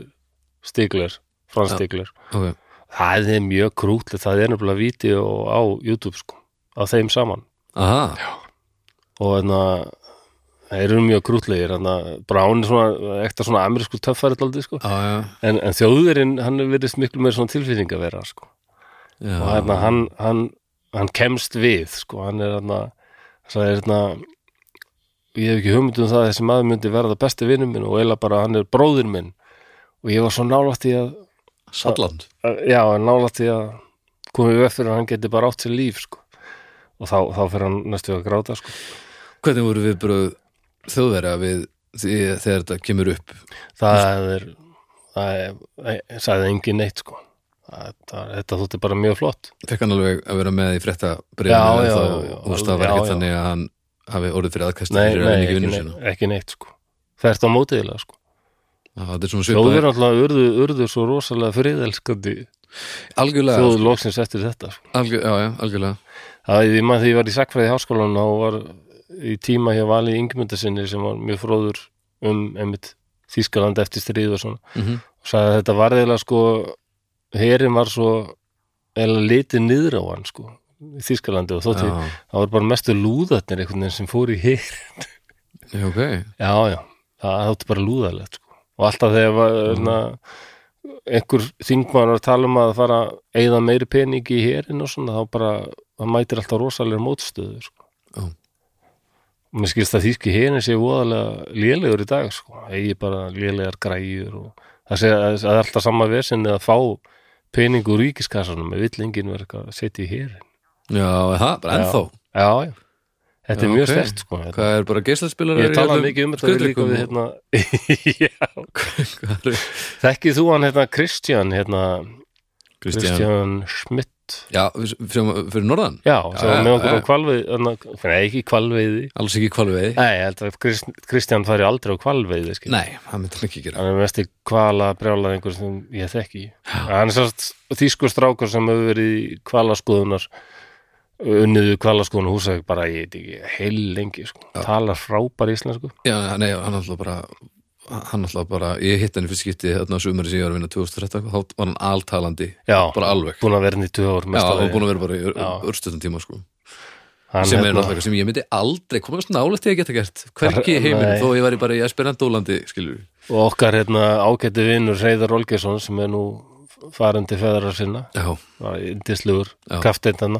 Stigler, Frans
Já.
Stigler
ok
það er mjög krútlegt, það er nefnilega vídeo á YouTube sko, á þeim saman
Aha,
og hérna það eru mjög krútlegir, hérna Brown er svona, ekta svona amerísku töffari daldi sko,
já, já,
en, en þjóðurinn hann er verið miklu meir svona tilfinning að vera sko,
já
og hérna hann, hann, hann kemst við sko, hann er hérna það er hérna ég hef ekki hugmynd um það að þessi maður myndi verða besti vinnum minn og eiginlega bara hann er bróðir minn og ég var svo nálægt í að
Salland
að- já, nálægt í að komið við fyrir að hann geti bara átt sér líf sko. og þá, þá fyrir hann næstu að gráta sko.
Hvernig voru við bröð þjóðverja við því, þegar þetta kemur upp?
það er það er, það sagði engin neitt sko. það, það, þetta þótti bara mjög flott
Fekk hann alveg að vera með í frétta
Já, já,
breyðinu
já, já,
og það
alveg,
var ekki
já,
þannig að hann hafi orðið fyrir aðkast
nei,
fyrir
nei,
að vinna
ekki,
ekki vinnu
neitt,
sína.
ekki neitt sko. þvert á mótiðilega sko.
Já, Þetta er svona svipað
þjóðverð alltaf urðu, urðu svo rosalega friðelskandi
algjörlega,
þjóð loksins eftir þetta sko.
algjör, já, já, algjörlega
það er því maður því ég var í sakfræði háskólan og var í tíma hjá Valið Ingmundarsinni sem var mjög fróður um einmitt Þýskaland eftir stríð og svona
mm -hmm.
og sagði að þetta var eiginlega sko herin var svo eða litið niður á hann sko í Þýskalandi og þótti
já,
það voru bara mestu lúðarnir einhvern veginn sem fór í hér
já, ok
já já, það þótti bara lúðarlegt sko. og alltaf þegar var
Mhm.
mm. einhver þingmann var að tala um að fara að eyða meiri pening í herin og svona þá bara, það mætir alltaf rosalega mótstöðu sko.
Já.
og mér skilst að þýski herin sé voðalega lélegur í dag sko. eigi bara lélegar græjur og það sé að það er alltaf sama vesinni að fá pening úr ríkiskassanum við vill enginn vera eitthvað að setja í herin
já, það, bara ennþá
já, já, þetta er
Já,
mjög
ok.
okay. stert sko. Þetta-
Hvað er hérna bara geislaspilar
Ég talaði mikið um þetta við líka við hérna Já, þekkið þú hann hérna Kristján hérna,
Kristján
Kristján Schmidt
Já, við- sem, fyrir norðan
Já, sem
Já,
var með okkur
já.
á kvalveiði hérna, Nei, ekki kvalveiði
Alls ekki kvalveiði
Nei, ég held að Krist, Kristján fari aldrei á kvalveiði skil.
Nei, það myndi hann ekki gera
Hann er mest í kvala brjálað einhver sem ég þekki Hann er sátt þýskur strákur sem hefur verið í kvalaskoðunar unniðu kvalaskoðunar húsæk bara, ég veit ekki, heil lengi sko. talar frábær íslensku
Já, nei, hann alltaf bara hann alltaf bara, ég hitt hann í fyrst skipti þarna sumari sem ég var að vinna 2013 þá var hann altalandi,
Já,
bara alveg
búin að vera henni í tvö ár
Já,
mesta
hann
lagi.
var búin að vera bara í
Já.
örstuðan tíma sko.
Hann,
sem er
hérna-
náttúrulega eitthvað sem ég myndi aldrei koma kannski nálægt því að geta gert, hvergi í heiminum
Nei.
þó ég væri bara í Esperantólandi, skilur
og okkar hérna ágæti vinnur Reyðar Olgesson sem er nú farin til feðra sinna
Já,
indislugur,
Já.
kafteindana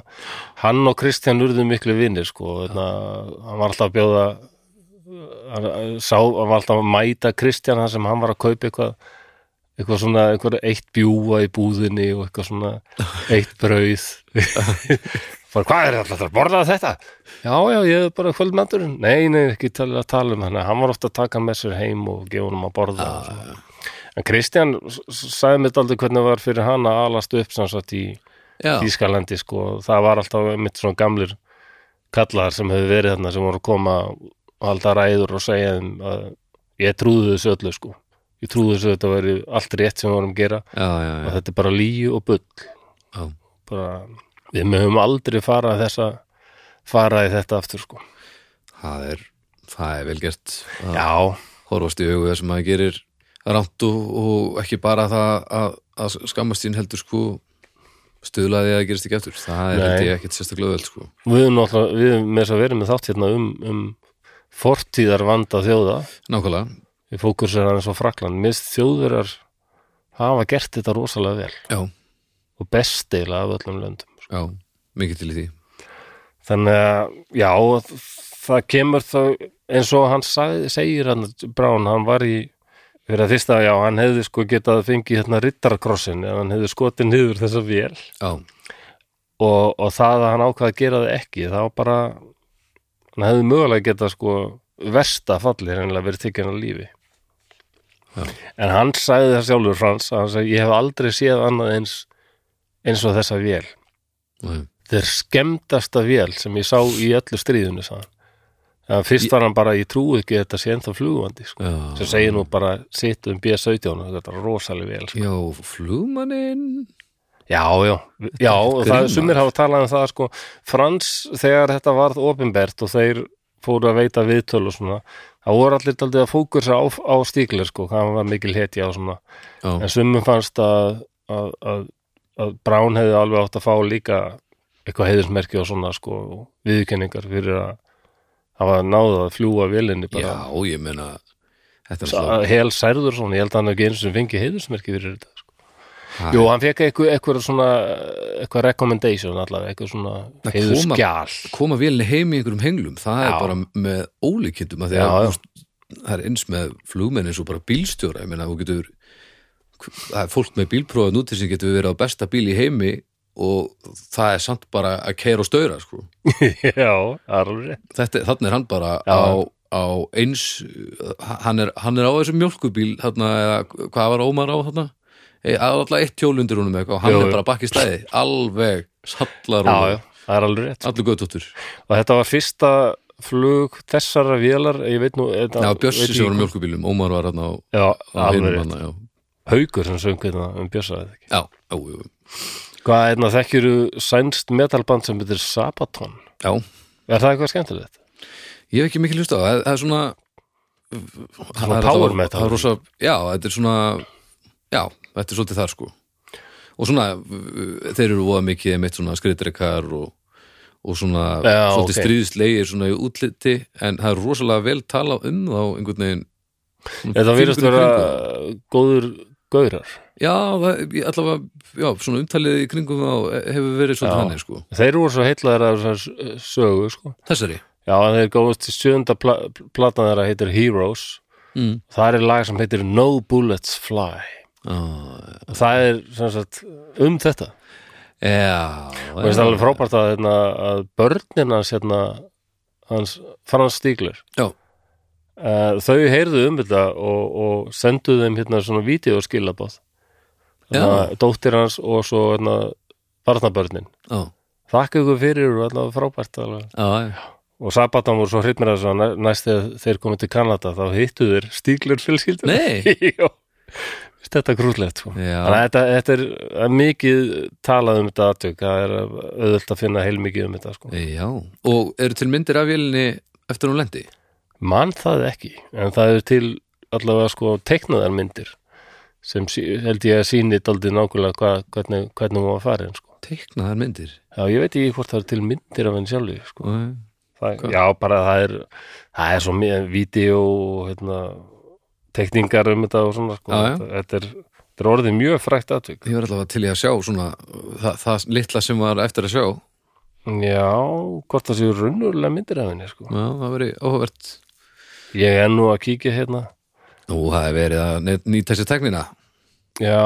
hann og Kristján urðu miklu vinnir sko, hérna, hann var alltaf að bjóða hann, sá, hann var alltaf að mæta Kristján hann sem hann var að kaupa eitthvað eitthvað svona, eitthvað eitt bjúa í búðinni og eitthvað svona eitt brauð bara, hvað er alltaf að borða þetta? Já, já, ég er bara kvöldmendurinn nei, nei, ekki tala, að tala um hann hann var ofta að taka hann með sér heim og gefa hann að borða og svona. en Kristján s- s- sagði mér aldrei hvernig var fyrir hann að alast upp sem sagt í
já,
Þýskalandi sko, það var alltaf mitt svona gamlir kallar sem hefur verið þarna sem voru að koma og halda ræður og segja þeim að ég trúði þessu öllu sko ég trúði þessu að þetta væri allt rétt sem við vorum að gera
já, já,
og
já.
þetta er bara líu og bull
já.
bara, við mögum aldrei fara þessa fara í þetta aftur sko
Það er, það er vel gert að
já,
horfast í augu það sem maður gerir rámt og, og ekki bara það að, að skammast sín heldur sko stuðlaði að það gerist ekki eftir það er
Nei.
held ég ekkert sérstaklega vel sko
við höfum náttúrulega við höfum með þess að vera með þátt hérna um, um fortíðar vanda þjóða
Nákvæmlega,
við fókusum aðeins á Frakland mist þjóðurar hafa gert þetta rosalega vel
já,
og best eila af öllum löndum sko.
já, mikið til í því
þannig að já það kemur þá eins og hann sag, segir hann Brown, hann var í fyrir að fyrsta, já, hann hefði sko getað fengið hérna rittarkrossin ef hann hefði skotið niður þessa vél
Já,
og, og það að hann ákvað að gera það ekki þá bara hann hefði mögulega getað sko versta falli reynilega verið tekinn á lífi
Já.
en hann sagði það sjálfur Frans að hann sagði ég hef aldrei séð annað eins eins og þessa vél
nei,
þeir skemmtasta vél sem ég sá í öllu stríðinu sagði hann. en fyrst var hann bara ég trúi ekki að þetta sé ennþá flugandi sko.
já
sem segir nú bara sitt um B-17 og þetta er rosalega vel sko.
Já, flugmannin
Já, já, já, og það
Grínast.
sumir hafa talað um það sko, Frans þegar þetta varð opinbert og þeir fóru að veita viðtöl og svona, það voru allir daldið að fókursa á, á stíkler sko, hann var mikil hetja og svona,
Já,
en sumum fannst að, að, að, að Brown hefði alveg átt að fá líka eitthvað heiðismerki og svona sko, og viðurkenningar fyrir að hafa náð að fljúa vélinni
já
bara,
ég meina Þetta er alltaf
Að hel særður svona, ég held að hann ekki eins og fengi heiðismerki fyrir þetta sko.
Það
Jú, hann fekk eitthvað, eitthvað svona eitthvað recommendation allavega, eitthvað svona
Það
heiður
koma-
skjál
koma vélinni heim í einhverjum henglum það er
Já.
bara með ólíkindum að því
Já,
að
já.
þú veist, það er eins með flugmenn eins og bara bílstjóra ég meina þú getur það er fólk með bílprófið núti sem getur verið á besta bíl í heimi og það er samt bara að keira og staura sko.
já, það er alveg rétt.
Þetta, þannig er hann bara
Já.
á, á eins hann er, hann er á þessum mjólkubíl þarna, eða, hvað var Ómar á þarna e, alltaf eitt hjól undir honum eitthvað, og hann
Jú,
er
jú.
bara bakk í stæði alveg sallar
Já,
og
já, það er alveg rétt.
allir göttóttur
Og þetta var fyrsta flug þessara vélar, ég veit nú... Þetta,
Já,
veit
Bjössi
ég-
sem var á mjólkubílum, Ómar var hann á,
Já,
á
alveg
hinum
rétt.
hann já,
Haukur sem söng hérna um Bjössa, eða ekki.
já, já, já,
Hvað, hérna, þekkiru sænst metalband sem heitir Sabaton.
já.
Er það eitthvað skemmtilegt?
Ég hef ekki mikil hlust á það, það er svona það
power
er alltaf-
metal.
það er rosa, Já, þetta er svona Já, þetta er svolítið þar sko Og svona, uh, þeir eru voða mikið mitt svona skriðdrekar og, og svona,
Já,
svolítið
ok.
okay. stríðislegir svona í útliti, en það er rosalega vel tala um þá einhvern veginn svona
Þetta
fílingur
virðast
í
vera
kringum það.
góður gaurar.
Já, það, ég- allavega, já, svona umtalið í kringum þá eh, hefur verið svolítið
Já.
hannig sko
Þeir voru svo heitlaðir af þessar sögu, sko.
Þessari
Já, en þeir góðast til sjönda pla platan þeirra heitir Heroes.
mm.
Það er lag sem heitir No Bullets Fly.
ah,
Og það er, sem sagt, um þetta.
Já,
Og það er alveg frábært að, hérna, að börnin hans, hérna, hans Frans Stíglur,
Já,
uh, þau heyrðu um þetta og, og sendu þeim hérna svona vídeoskilabóð.
Já.
Dóttir hans og svo hérna barnabörnin.
já,
Þakka ykkur fyrir og allavega frábært alveg.
já, já
Og Sabatan voru svo hrypnir að þessu að næst þegar þeir komið til Kanada þá hittu þeir Stíglur fjölskyldur.
Nei
Jó. Þetta er grútlegt sko.
Já.
Þannig að þetta, þetta er það er mikið talað um þetta atvik, það er auðvöld að finna heilmikið um þetta sko.
Já, og eru til myndir af vélinni eftir hún lendi?
Man það ekki, en það er til allavega sko teiknaðar myndir sem sí- held ég að síni daldið nákvæmlega hva, hvernig, hvernig hún var farin sko.
Teiknaðar myndir
Já, ég veit ekki hvort það er til myndir af henni sjálfi sko.
Nei.
það,
Hvað?
Já, bara það er það er svo mjög vídeo og hérna, tekningar um þetta og svona sko.
Já, já.
Þetta, þetta, er, þetta er orðið mjög frækt atvik
Ég var allavega til ég að sjá svona það, það litla sem var eftir að sjá Já,
Já, hvort það séu runnulega myndir af henni sko.
það veri óhvert
Ég er nú að kíkja hérna
Nú, það er verið að ne- nýta þessi teknina
Já,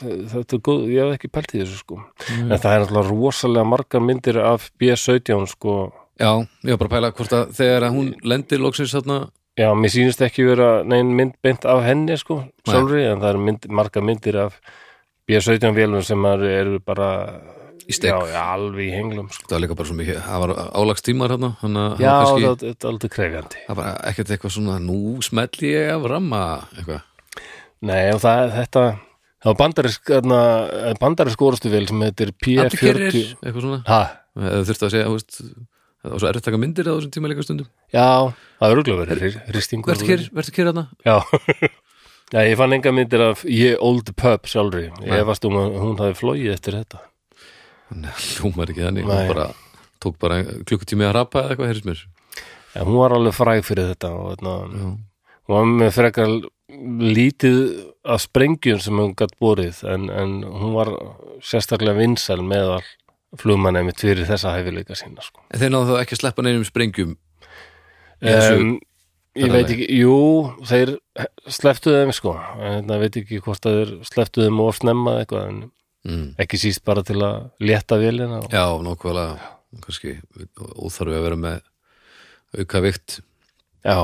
þe- þetta er góð, ég hef ekki pælt í þessu sko En það er náttúrulega rosalega margar myndir af B17 sko
Já, ég var bara að pæla hvort að þegar að hún lendir loksins þarna
Já, mér sýnist ekki vera neinn mynd beint af henni sko,
Nei.
sjálfri En það eru mynd, margar myndir af B17 vélum sem er, eru bara
Í stekk.
Já, já, alveg í henglum sko
Það var líka bara svo mikið, það var álagstímar þarna Þannig að
Já,
það var
það,
kannski,
þetta er aldrei krefjandi
það var ekkert eitthvað svona Nú smelli ég af ramma eitthvað
Nei, og það, þetta Það var bandarisk, þarna, bandarisk orustu vél sem heitir
Abdikerir,
P40
eitthvað svona
Hæ?
Eða þurfti að segja, þú veist Það var svo erfitt að taka myndir á þessum tíma líka stundum
Já, það er auðvitað verið hristingur.
Vertu kér, vertu kér hana?
Já. Já, ég fann enga myndir af ég old pub sjálfri. Ég efast um að hún hafi flóið eftir þetta.
Nei, hljómar ekki þannig
Nei.
Hún bara, tók bara klukkutími að rapa eða eitthvað, heyrðis mér
En hún var alveg fræg fyrir þetta og þarna,
Já,
hún var með frekar lítið af sprengjum sem hún gatt borið en, en hún var sérstaklega vinsæl meðal flugmann einmitt fyrir þessa hæfileika sína sko.
En þeir náðu þá ekki að sleppa neinum sprengjum í þessu-
um, ég
ferðalagi.
veit ekki, jú þeir sleftu þeim sko en það veit ekki hvort að þeir sleftu þeim of snemma eða eitthvað en
mm.
ekki síst bara til að létta vélina og...
Já, nákvæmlega, kannski óþarfi að vera með auka vikt
já.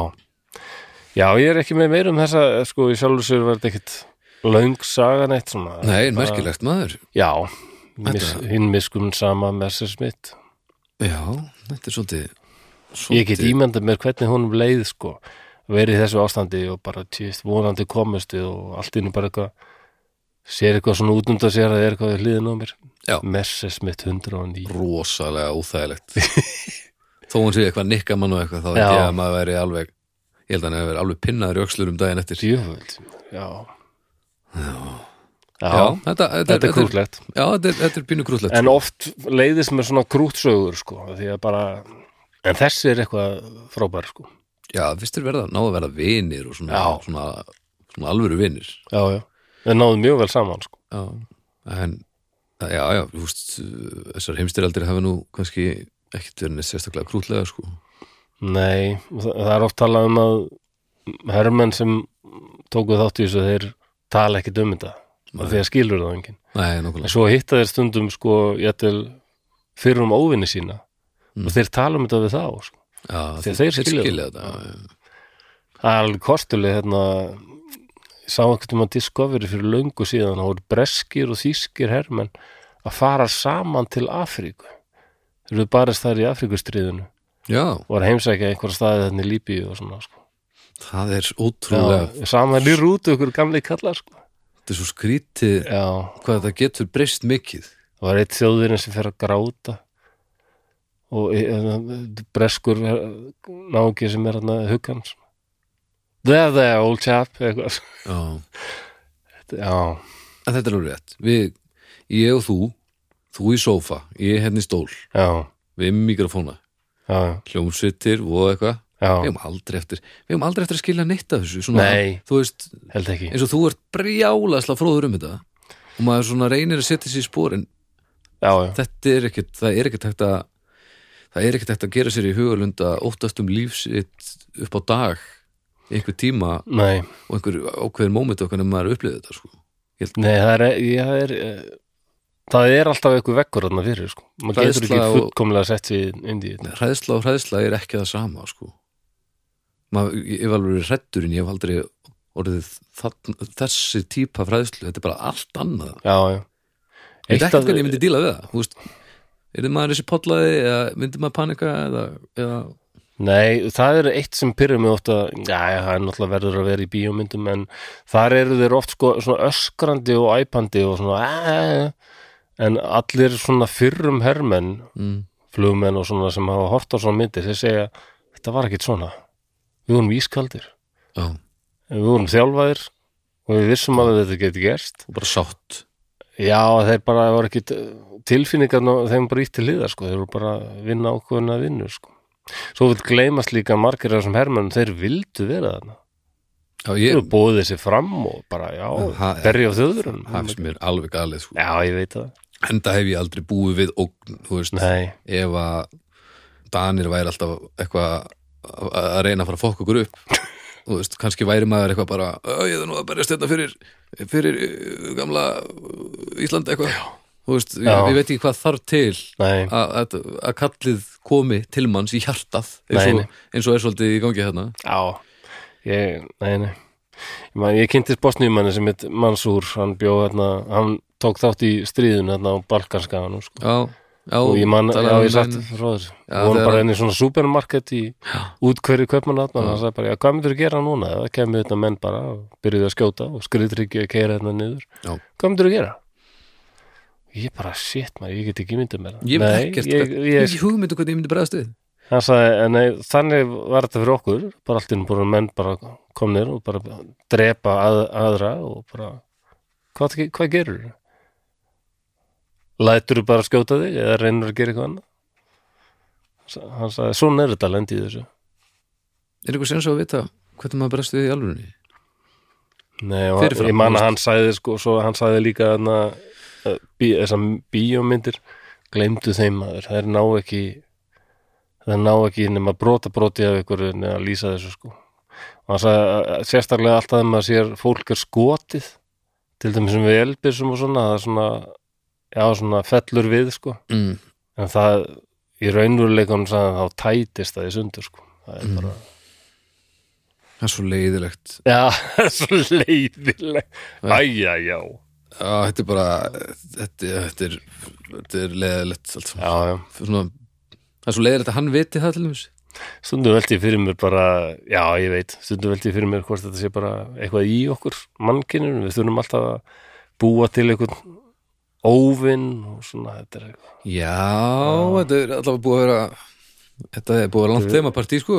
já, ég er ekki með meir um þessa sko, í sjálfur sér var þetta ekkit löng sagan eitt svona
Nei, en merkilegt maður
já,
Þetta-
mis, hinn miskun sama Messersmith
Já, þetta er svolítið, svolítið
ég get ímyndað mér hvernig honum leið sko verið í þessu ástandi og bara tíðist vonandi komustu og allt innu bara eitthvað sér eitthvað svona út undan sér að það er eitthvað við hliðin á mér
Já.
Messersmith 109
rosalega óþægilegt Þó hún sé eitthvað nikka mann og eitthvað þá veit
Já.
ég að maður veri alveg ég held að hann hefur verið alveg pinnaður í öxlur um daginn eftir Já,
djöfvöld já já,
þetta, þetta,
þetta er krúklegt
Já, þetta er, þetta er pínu sko. krúllegt
en oft leiðist með svona krútsögur sko, því að bara en þessi er eitthvað frábær sko
Já, fyrst er verða, náðu að verða vinir og svona,
Já.
svona, svona alvöru vinir
já, já, við náðum mjög vel saman sko
Já, en já, já, þú veist þessar heimstyraldir hafa nú kannski ekkert verið neitt sérstaklega krútlega sko
nei, það, það er oft talað um að hermenn sem tóku þátt í þessu þeir tala ekkit um þetta Af því að skilur það enginn
Nei,
en
nokkulega
svo hitta þeir stundum sko, jættil, fyrir um óvinni sína og þeir tala um þetta við þá sko.
Já,
Þeir- þeir skilja
þetta já, já.
það er alveg kostuleg hérna, ég sá einhvern veginn að Discovery fyrir löngu síðan það voru breskir og þýskir hermenn að fara saman til Afríku þeir eru barist þar í Afríkustriðinu
já,
og var að heimsækja einhverja staði þannig Líbíu og svona sko.
það er ótrúlega
Já, saman í rútu ykkur gamli kallar sko.
Þetta er svo skrítið
já,
hvað þetta getur breyst mikið
það var eitt þjóðurinn sem fer að gráta og e, e, breskur náungi sem er hann að huggans there there old chap eitthvað sko.
Já,
já,
en þetta er alveg rétt Við, ég og þú, þú í sófa ég hérna í stól,
já,
við um mikrofóna
já,
hljómsvittir og
já,
eitthvað
já
Við hefum aldrei eftir, við hefum aldrei eftir að skilja neitt af þessu svona,
Nei.
Þú veist,
held ekki
eins og þú ert brjálasla fróður um þetta og maður svona reynir að setja sér í spór en
já, já,
þetta er ekkert, það er ekkert hægt að það er ekkert hægt að gera sér í hugalund að óttast um líf sitt upp á dag einhver tíma
nei,
og einhver ákveðin móment okkar en maður upplifði þetta sko.
nei það er, ég, það er eh, það er alltaf eitthvað vekkur þarna fyrir sko, maður getur
Hræðsla
ekki
og-
fullkomlega sett sér inn í þetta
hræðsla og hræðsla er ekki það sama sko. maður, ég hef alveg verið hrættur en ég hef aldrei orðið þann, þessi típa af hræðslu þetta er bara allt annað
já, já
Ég veit
Eitt
ekki
að-
hvernig ég myndi díla við það þú veist, Er þið maður þessi potlaði eða myndi maður panika eða, eða
Nei, það er eitt sem pyrrur mig ofta, já, það er náttúrulega verður að vera í bíómyndum, en þar eru þeir oft sko, svona öskrandi og æpandi og svona, "Aah!" en allir svona fyrrum hermenn,
mm,
flugmenn og svona sem hafa hort á svona myndir, þeir segja, þetta var ekkit svona, við vorum ískaldir,
já,
en við vorum þjálfaðir og við vissum alveg að þetta geti gerst.
og bara sátt
Já, þeir bara voru ekki tilfinningar og þeim bara ítt til liðar sko, þeir voru bara að vinna ákveðuna vinnu sko. Svo vil gleymast líka margir af þessum hermönum, þeir vildu vera þarna.
Já,
Þeir
ég
eru bóðið sér fram og bara, já,
Ha-
berja á þjóðurinn.
hafs mér alveg galið sko.
Já, ég veit það.
enda hef ég aldrei búið við ógn, þú veist,
Nei,
ef að Danir væri alltaf eitthvað að- að reyna að fara að fokka okkur upp þú veist, kannski væri maður eitthvað bara "Ö, ég er nú að berjast þetta fyrir fyrir uh, gamla uh, Ísland eitthvað þú veist, ég,
Já.
ég veit ekki hvað þarf til
nei,
að að- að kallið komi til manns í hjartað eins
Nei,
og,
nei.
eins og er svolítið í gangi hérna
já, ég, nei, nei. Ég, man, ég kynntist bosnjumanni sem heit Mansúr, hann bjó hérna, hann tók þátt í stríðun hérna á Balkanskaganum sko.
já, já,
og ég man, já,
talaðu um
ég sagt
einu-
frá þessu
Já,
við vorum
þegar-
bara enn í svona supermarket í útkverju kaupmanatman
Já.
hann sagði bara, já, hvað myndir þú gera núna það kemur þetta menn bara og byrjuðu að skjóta og skriðtryggju að keira hérna niður
Já.
hvað myndir þú gera? ég bara, shit maður, ég get ekki myndið mér það.
ég veit
nei,
ekkert,
ég, sko ég,
ekki hugmyndu hvernig ég myndi bregðast við
hann sagði, en nei, þannig var þetta fyrir okkur bara allt innum bara menn bara komnir og bara drepa að, aðra og bara hvað, hvað gerur? lætur þú bara skjóta þig eða reynir að gera eitthvað annað Sa- hann sagði, svona er þetta lendi í þessu
er eitthvað sens á að vita hvernig maður bregðast við í alvörunni
Nei, og
Fyrirfram,
ég man að
þú veist.
hann sagði sko, svo hann sagði líka þarna, uh, bí, þessar bíómyndir gleymdu þeim maður, þær ná ekki þær ná ekki nema brota broti af ykkur en að lýsa þessu sko og hann sagði að- að sérstaklega alltaf þegar maður sér fólk er skotið til dæmis sem við elbisum og svona það er svona, já svona fellur við sko,
mm.
en það í raunveruleikunum sagði hann, þá tætist það í sundur sko, það er bara
það er svo leiðilegt
Já, það er svo leiðileg Æja, já
já, þetta er bara þetta, þetta, er, þetta er leiðilegt allt saman.
Já, já
svona, það er svo leiðilegt að hann viti það til þess
Stundum veldi ég fyrir mér bara, já ég veit, stundum veldi ég fyrir mér hvort þetta sé bara eitthvað í okkur, mannkyninu, við þurfum alltaf að búa til einhvern óvinn og svona, þetta er eitthvað.
já, þetta er allavega búið að vera þetta er búið að vera langt þeim að partí sko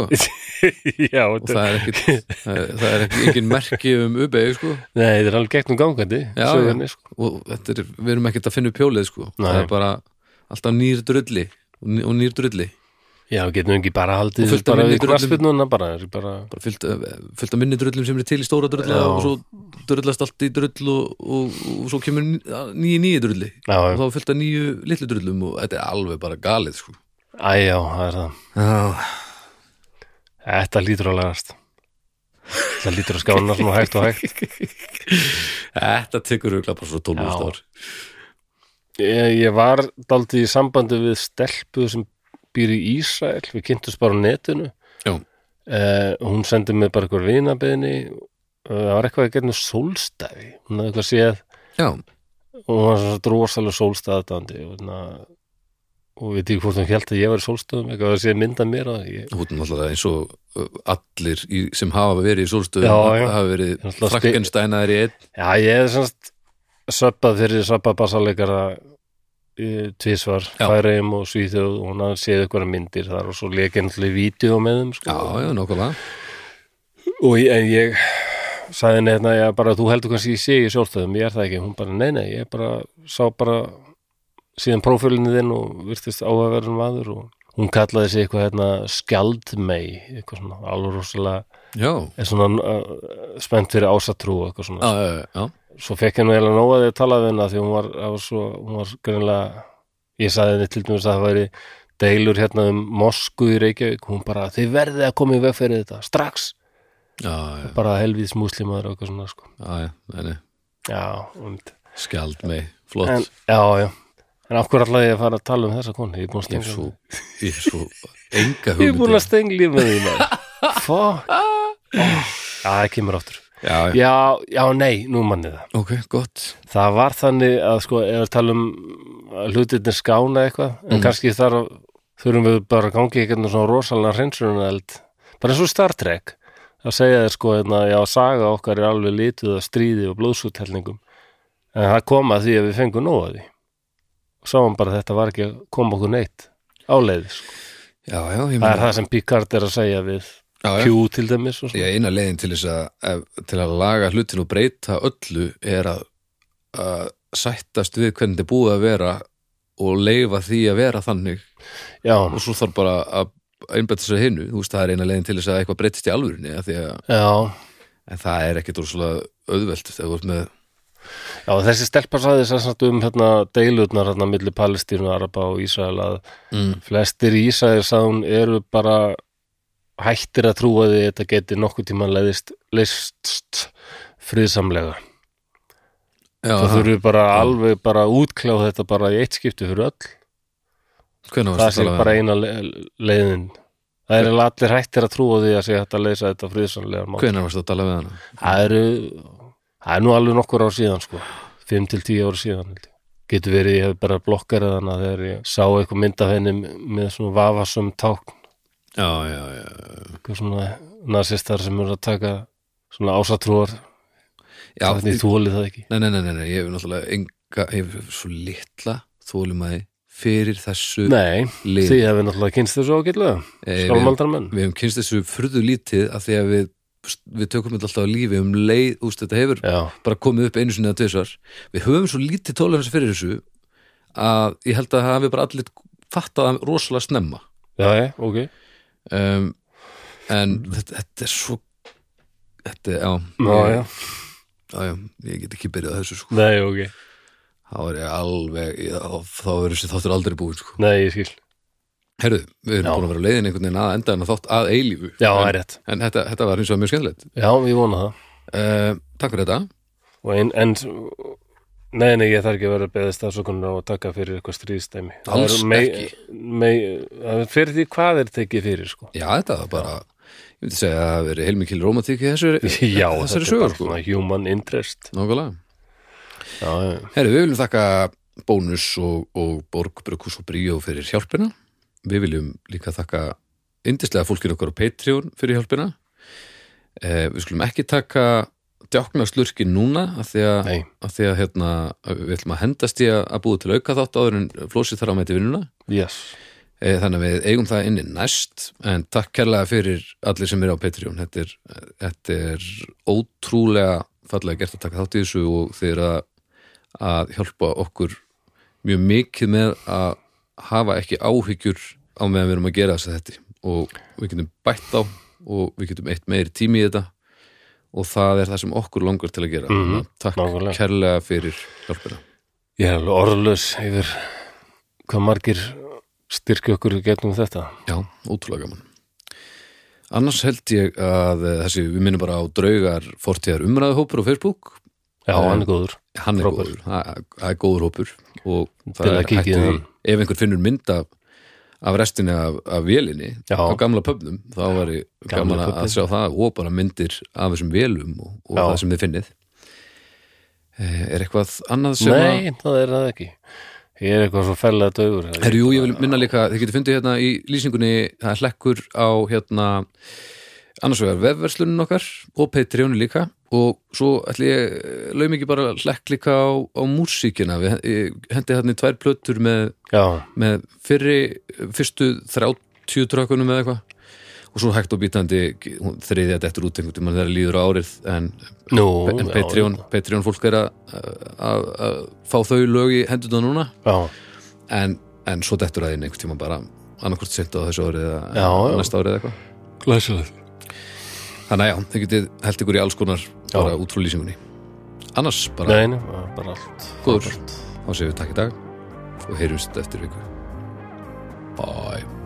já,
og
þetta er,
það er ekkit það er- það er ekki engin merki um UBEG sko
nei, þetta er alveg gegnum gangandi,
Já,
sögunni, sko.
og þetta er, við erum ekkert að finna upp hjólið sko
Nei.
það er bara alltaf nýr drulli og ný- og nýr drulli
Já, getum við ekki bara haldið
Og fullt af
bara
minni
við
drullum.
knassbyrnuna bara, er bara,
bara fyllt, fyllt af minni drullum sem er til í stóra drulla
Já.
og svo drullast allt í drull og, og, og svo kemur nýju nýju drulli og
já,
þá er fyllt af nýju litlu drullum og þetta er alveg bara galið sko
æjá, það er það.
Já,
Þetta lítur að lagast. það lítur að skána svona hægt og hægt
Þetta tekur auðvitað bara svo 12
Já.
ár
ég, Eh, ég var daldið í sambandi við stelpu sem býr í Ísrael við kynntumst bara á netinu
Já.
Eh, hún sendi mig bara eitthvað vinabeðni það var eitthvað að gera sólstæði hún hafði eitthvað séð
Já,
og hún var svo drosalega sólstæðdandi og, na, og við tík hvort hún held að ég var í sólstæðum eitthvað að sé mynda mér að ég
þú ert náttúrulega eins og uh, allir í, sem hafa verið í sólstöðu
Já, já.
hafa verið
náttúrulega spe-
frakkenstænaðir í einn
Já, ég hefði semst söppað fyrir söppað basaleikara tvísvar,
Já.
færeim og svíþjóð og hún hafði séð eitthvað myndir þar og svo leikinn allir vídeo með þeim
Já,
sko.
já, nákvæmlega
og ég, en ég sagði henni hérna, já, bara þú heldur kannski ég sé í sjálfstöðum, ég er það ekki, hún bara, nei, nei ég bara, sá bara síðan prófílinni þinn og virtist áhugaverðum maður og hún kallaði sig eitthvað hérna skjaldmei, eitthvað svona alveg rosalega,
Já,
er svona uh, spennt fyrir ásatrú og eitthvað svona
já, já, já,
svo fekk ég nú eiginlega nóg að ég talaði við hennar því hún var, það var svo, hún var greinlega ég sagði henni til dæmis að það væri deilur hérna um Mosku í Reykjavík hún bara, þið verðið að koma í veg fyrir þetta strax,
já, já,
bara helvíðs múslimaður og eitthvað svona, sko
já, já, nei, nei,
já, und,
skjald með, flott
en, já, já en af hverju allavega ég að fara að tala um þessa konu ég er búin að
Ég er
stengla
svo, ég er svo
ég er
enga
búin að
hugmyndi
stengla með því maður. fuck oh, já, það kemur áttur
Já, já,
já, já, nei, nú manni það
ok, gott
Það var þannig að sko, ef við talum að hlutirnir skána eitthvað, en kannski þar þurfum við bara að gangi eitthvað svona rosalega hreinsunareld, bara eins og Star Trek það segja þér sko, hérna, já, saga okkar er alveg lituð af stríði og blóðsúttelningum, en það kom að því að við fengum nóg að því og sáum bara að þetta var ekki að koma okkur neitt áleiðis, sko.
Já, já, ég
það er
meina
það sem Picard er að segja við
Mhm. Já, já.
Q til dæmis og
Já,
svona,
eina leiðin til þess að, ef- til að laga hlutin og breyta öllu er að, að sættast við hvernig þetta er búið að vera og leifa því að vera þannig
já,
og svo þarf bara að einbæta sér að hinu, þú veist, það er eina leiðin til þess að eitthvað breytist í alvörinni, að því að
já
en það er ekkit úrslega auðvelt þegar þú ert með,
Já, þessi stelpa sagði þess að um hérna, deilutnar hérna milli Palestínu, Araba og Ísrael að
mm.
flestir í Ísrael sagðun eru bara hættir að trúa því að þetta geti nokkuð tíma leðist, leist friðsamlega.
já,
Það þurfi bara alveg bara að útkljá þetta bara í eitt skipti fyrir öll.
hvernig
Það
varst
sé
að tala
bara
við?
eina le- leiðin. Það eru allir hættir að trúa því að sé hægt að leysa þetta friðsamlega mál.
Hvernig varst að tala við hana?
Það eru, það er nú alveg nokkur ár síðan sko, 5 til 10 ár síðan held ég. Getur verið, ég hef bara blokkerað hana þegar ég sá eitthvað mynd af henni með svona vafasum tákn,
Já, já, já,
eitthvað svona nasistar sem eru að taka svona ásatrúar,
já,
þannig þúlið það ekki.
Nei, nei, nei, nei, nei, ég hef náttúrulega enga, ég hef svo litla þólumæði fyrir þessu
Nei,
lið.
því hefur náttúrulega kynst þessu ágætlega,
Eh, við,
skálmaldar menn.
við hefum kynst þessu furðu lítið af því að við, við tökum þetta alltaf á lífi um leið, úst, þetta hefur
Já,
bara komið upp einu sinni að tvisar. Við höfum svo lítið tólumæði fyrir þessu að ég held að það hafi bara allir fattað það rosalega snemma.
já, já, ok.
Um, en þetta, þetta er svo, þetta er, já,
Já, já,
já, já, ég get ekki byrjað á þessu sko.
nei, ok.
Þá er ég alveg, já, þá verður þessi þáttur aldrei búin sko.
Nei, ég skil.
Herru, við erum
Já.
búin að vera leiðin einhvern veginn að enda en að þátt að eilífu
Já, það
en,
er rétt.
en þetta, þetta var eins og mjög skemmtilegt
Já, ég vona það.
uh, Takk fyrir þetta
Og en, en nei, nei, ég þarf ekki að vera að beða stafsökunar og taka fyrir eitthvað stríðstæmi. Það
Alls
er mei,
ekki.
Mei, það er fyrir því hvað er tekið fyrir, sko.
Já, þetta var bara, ég myndi segja að það hafi verið heilmikil rómatík í þessu
Já,
þessari
þetta er
sögur
bara
sko.
svona human interest.
Nákvæmlega
Já, já.
Herru, við viljum þakka Bónus og, og Borg, Brukus og Bríó fyrir hjálpina Við viljum líka þakka yndislega fólkinu okkar á Patreon fyrir hjálpina uh, Við skulum ekki taka djákna slurkin núna af því að
Nei,
af því að hérna, við ætlum að hendast í að að búa til auka þátt áður en flósið þarf að mæti vinnuna
yes.
Eh, þannig að við eigum það inni næst en takk kærlega fyrir allir sem eru á Patreon þetta er, þetta er ótrúlega fallega gert að taka þátt í þessu og þeir að, að hjálpa okkur mjög mikið með að hafa ekki áhyggjur á meðan við erum að gera þess að þetta og við getum bætt á og við getum eitt meiri tími í þetta og það er það sem okkur langar til að gera
Mhm,
Þannig að takk
nákvæmlega.
kærlega fyrir hjálpina
Ég er alveg orðlaus yfir hvað margir styrki okkur gegnum þetta.
Já, ótrúlega gaman Annars held ég að eh, þessi, við minnum bara á draugar fortíðar umræðuhópur á Facebook
Já, hann er góður
hann er
Frábær.
góður, það það er góður hópur og
Til
það
að
er
kíkja í
hægt í,
hann.
ef einhver finnur mynd af, af restinni af, af vélinni
Já.
á gamla pöfnum, þá var ég
Gamla
gaman að
pubbinn.
sjá það og bara myndir af þessum vélum og, og
Já.
það sem þið finnið Eh, er eitthvað annað sem að
Nei, það er það ekki Ég er eitthvað svo fellega dögur
Herru, jú, ég vil minna líka, þið getur fundið hérna í lýsingunni, það er hlekkur á hérna, annars vegar vefverslunin okkar og Patreonu líka og svo ætli ég, laum ekki bara hlekk líka á, á músíkina við ég hendi hérna í tvær plötur með,
Já,
með fyrri, fyrstu 30 trökkunum eða eitthvað og svo hægt og bítandi hún þriðja dettur út einhvern tímann þegar líður á árið en,
nú
en
já,
Patreon, Patreon fólk er að að- að fá þau lög í hendurna núna
Já,
en, en svo dettur það inn einhvern tíma bara annarkvort sent á þessu árið eða
Já, já.
næsta árið eða eitthvað
glæsilegt
þannig að já, þið getið held ykkur í alls konar bara út frá lýsingunni annars bara,
Nei, nei, það er bara allt
Góður.
allt.
þá séum við takk í dag og heyrjumst eftir viku bye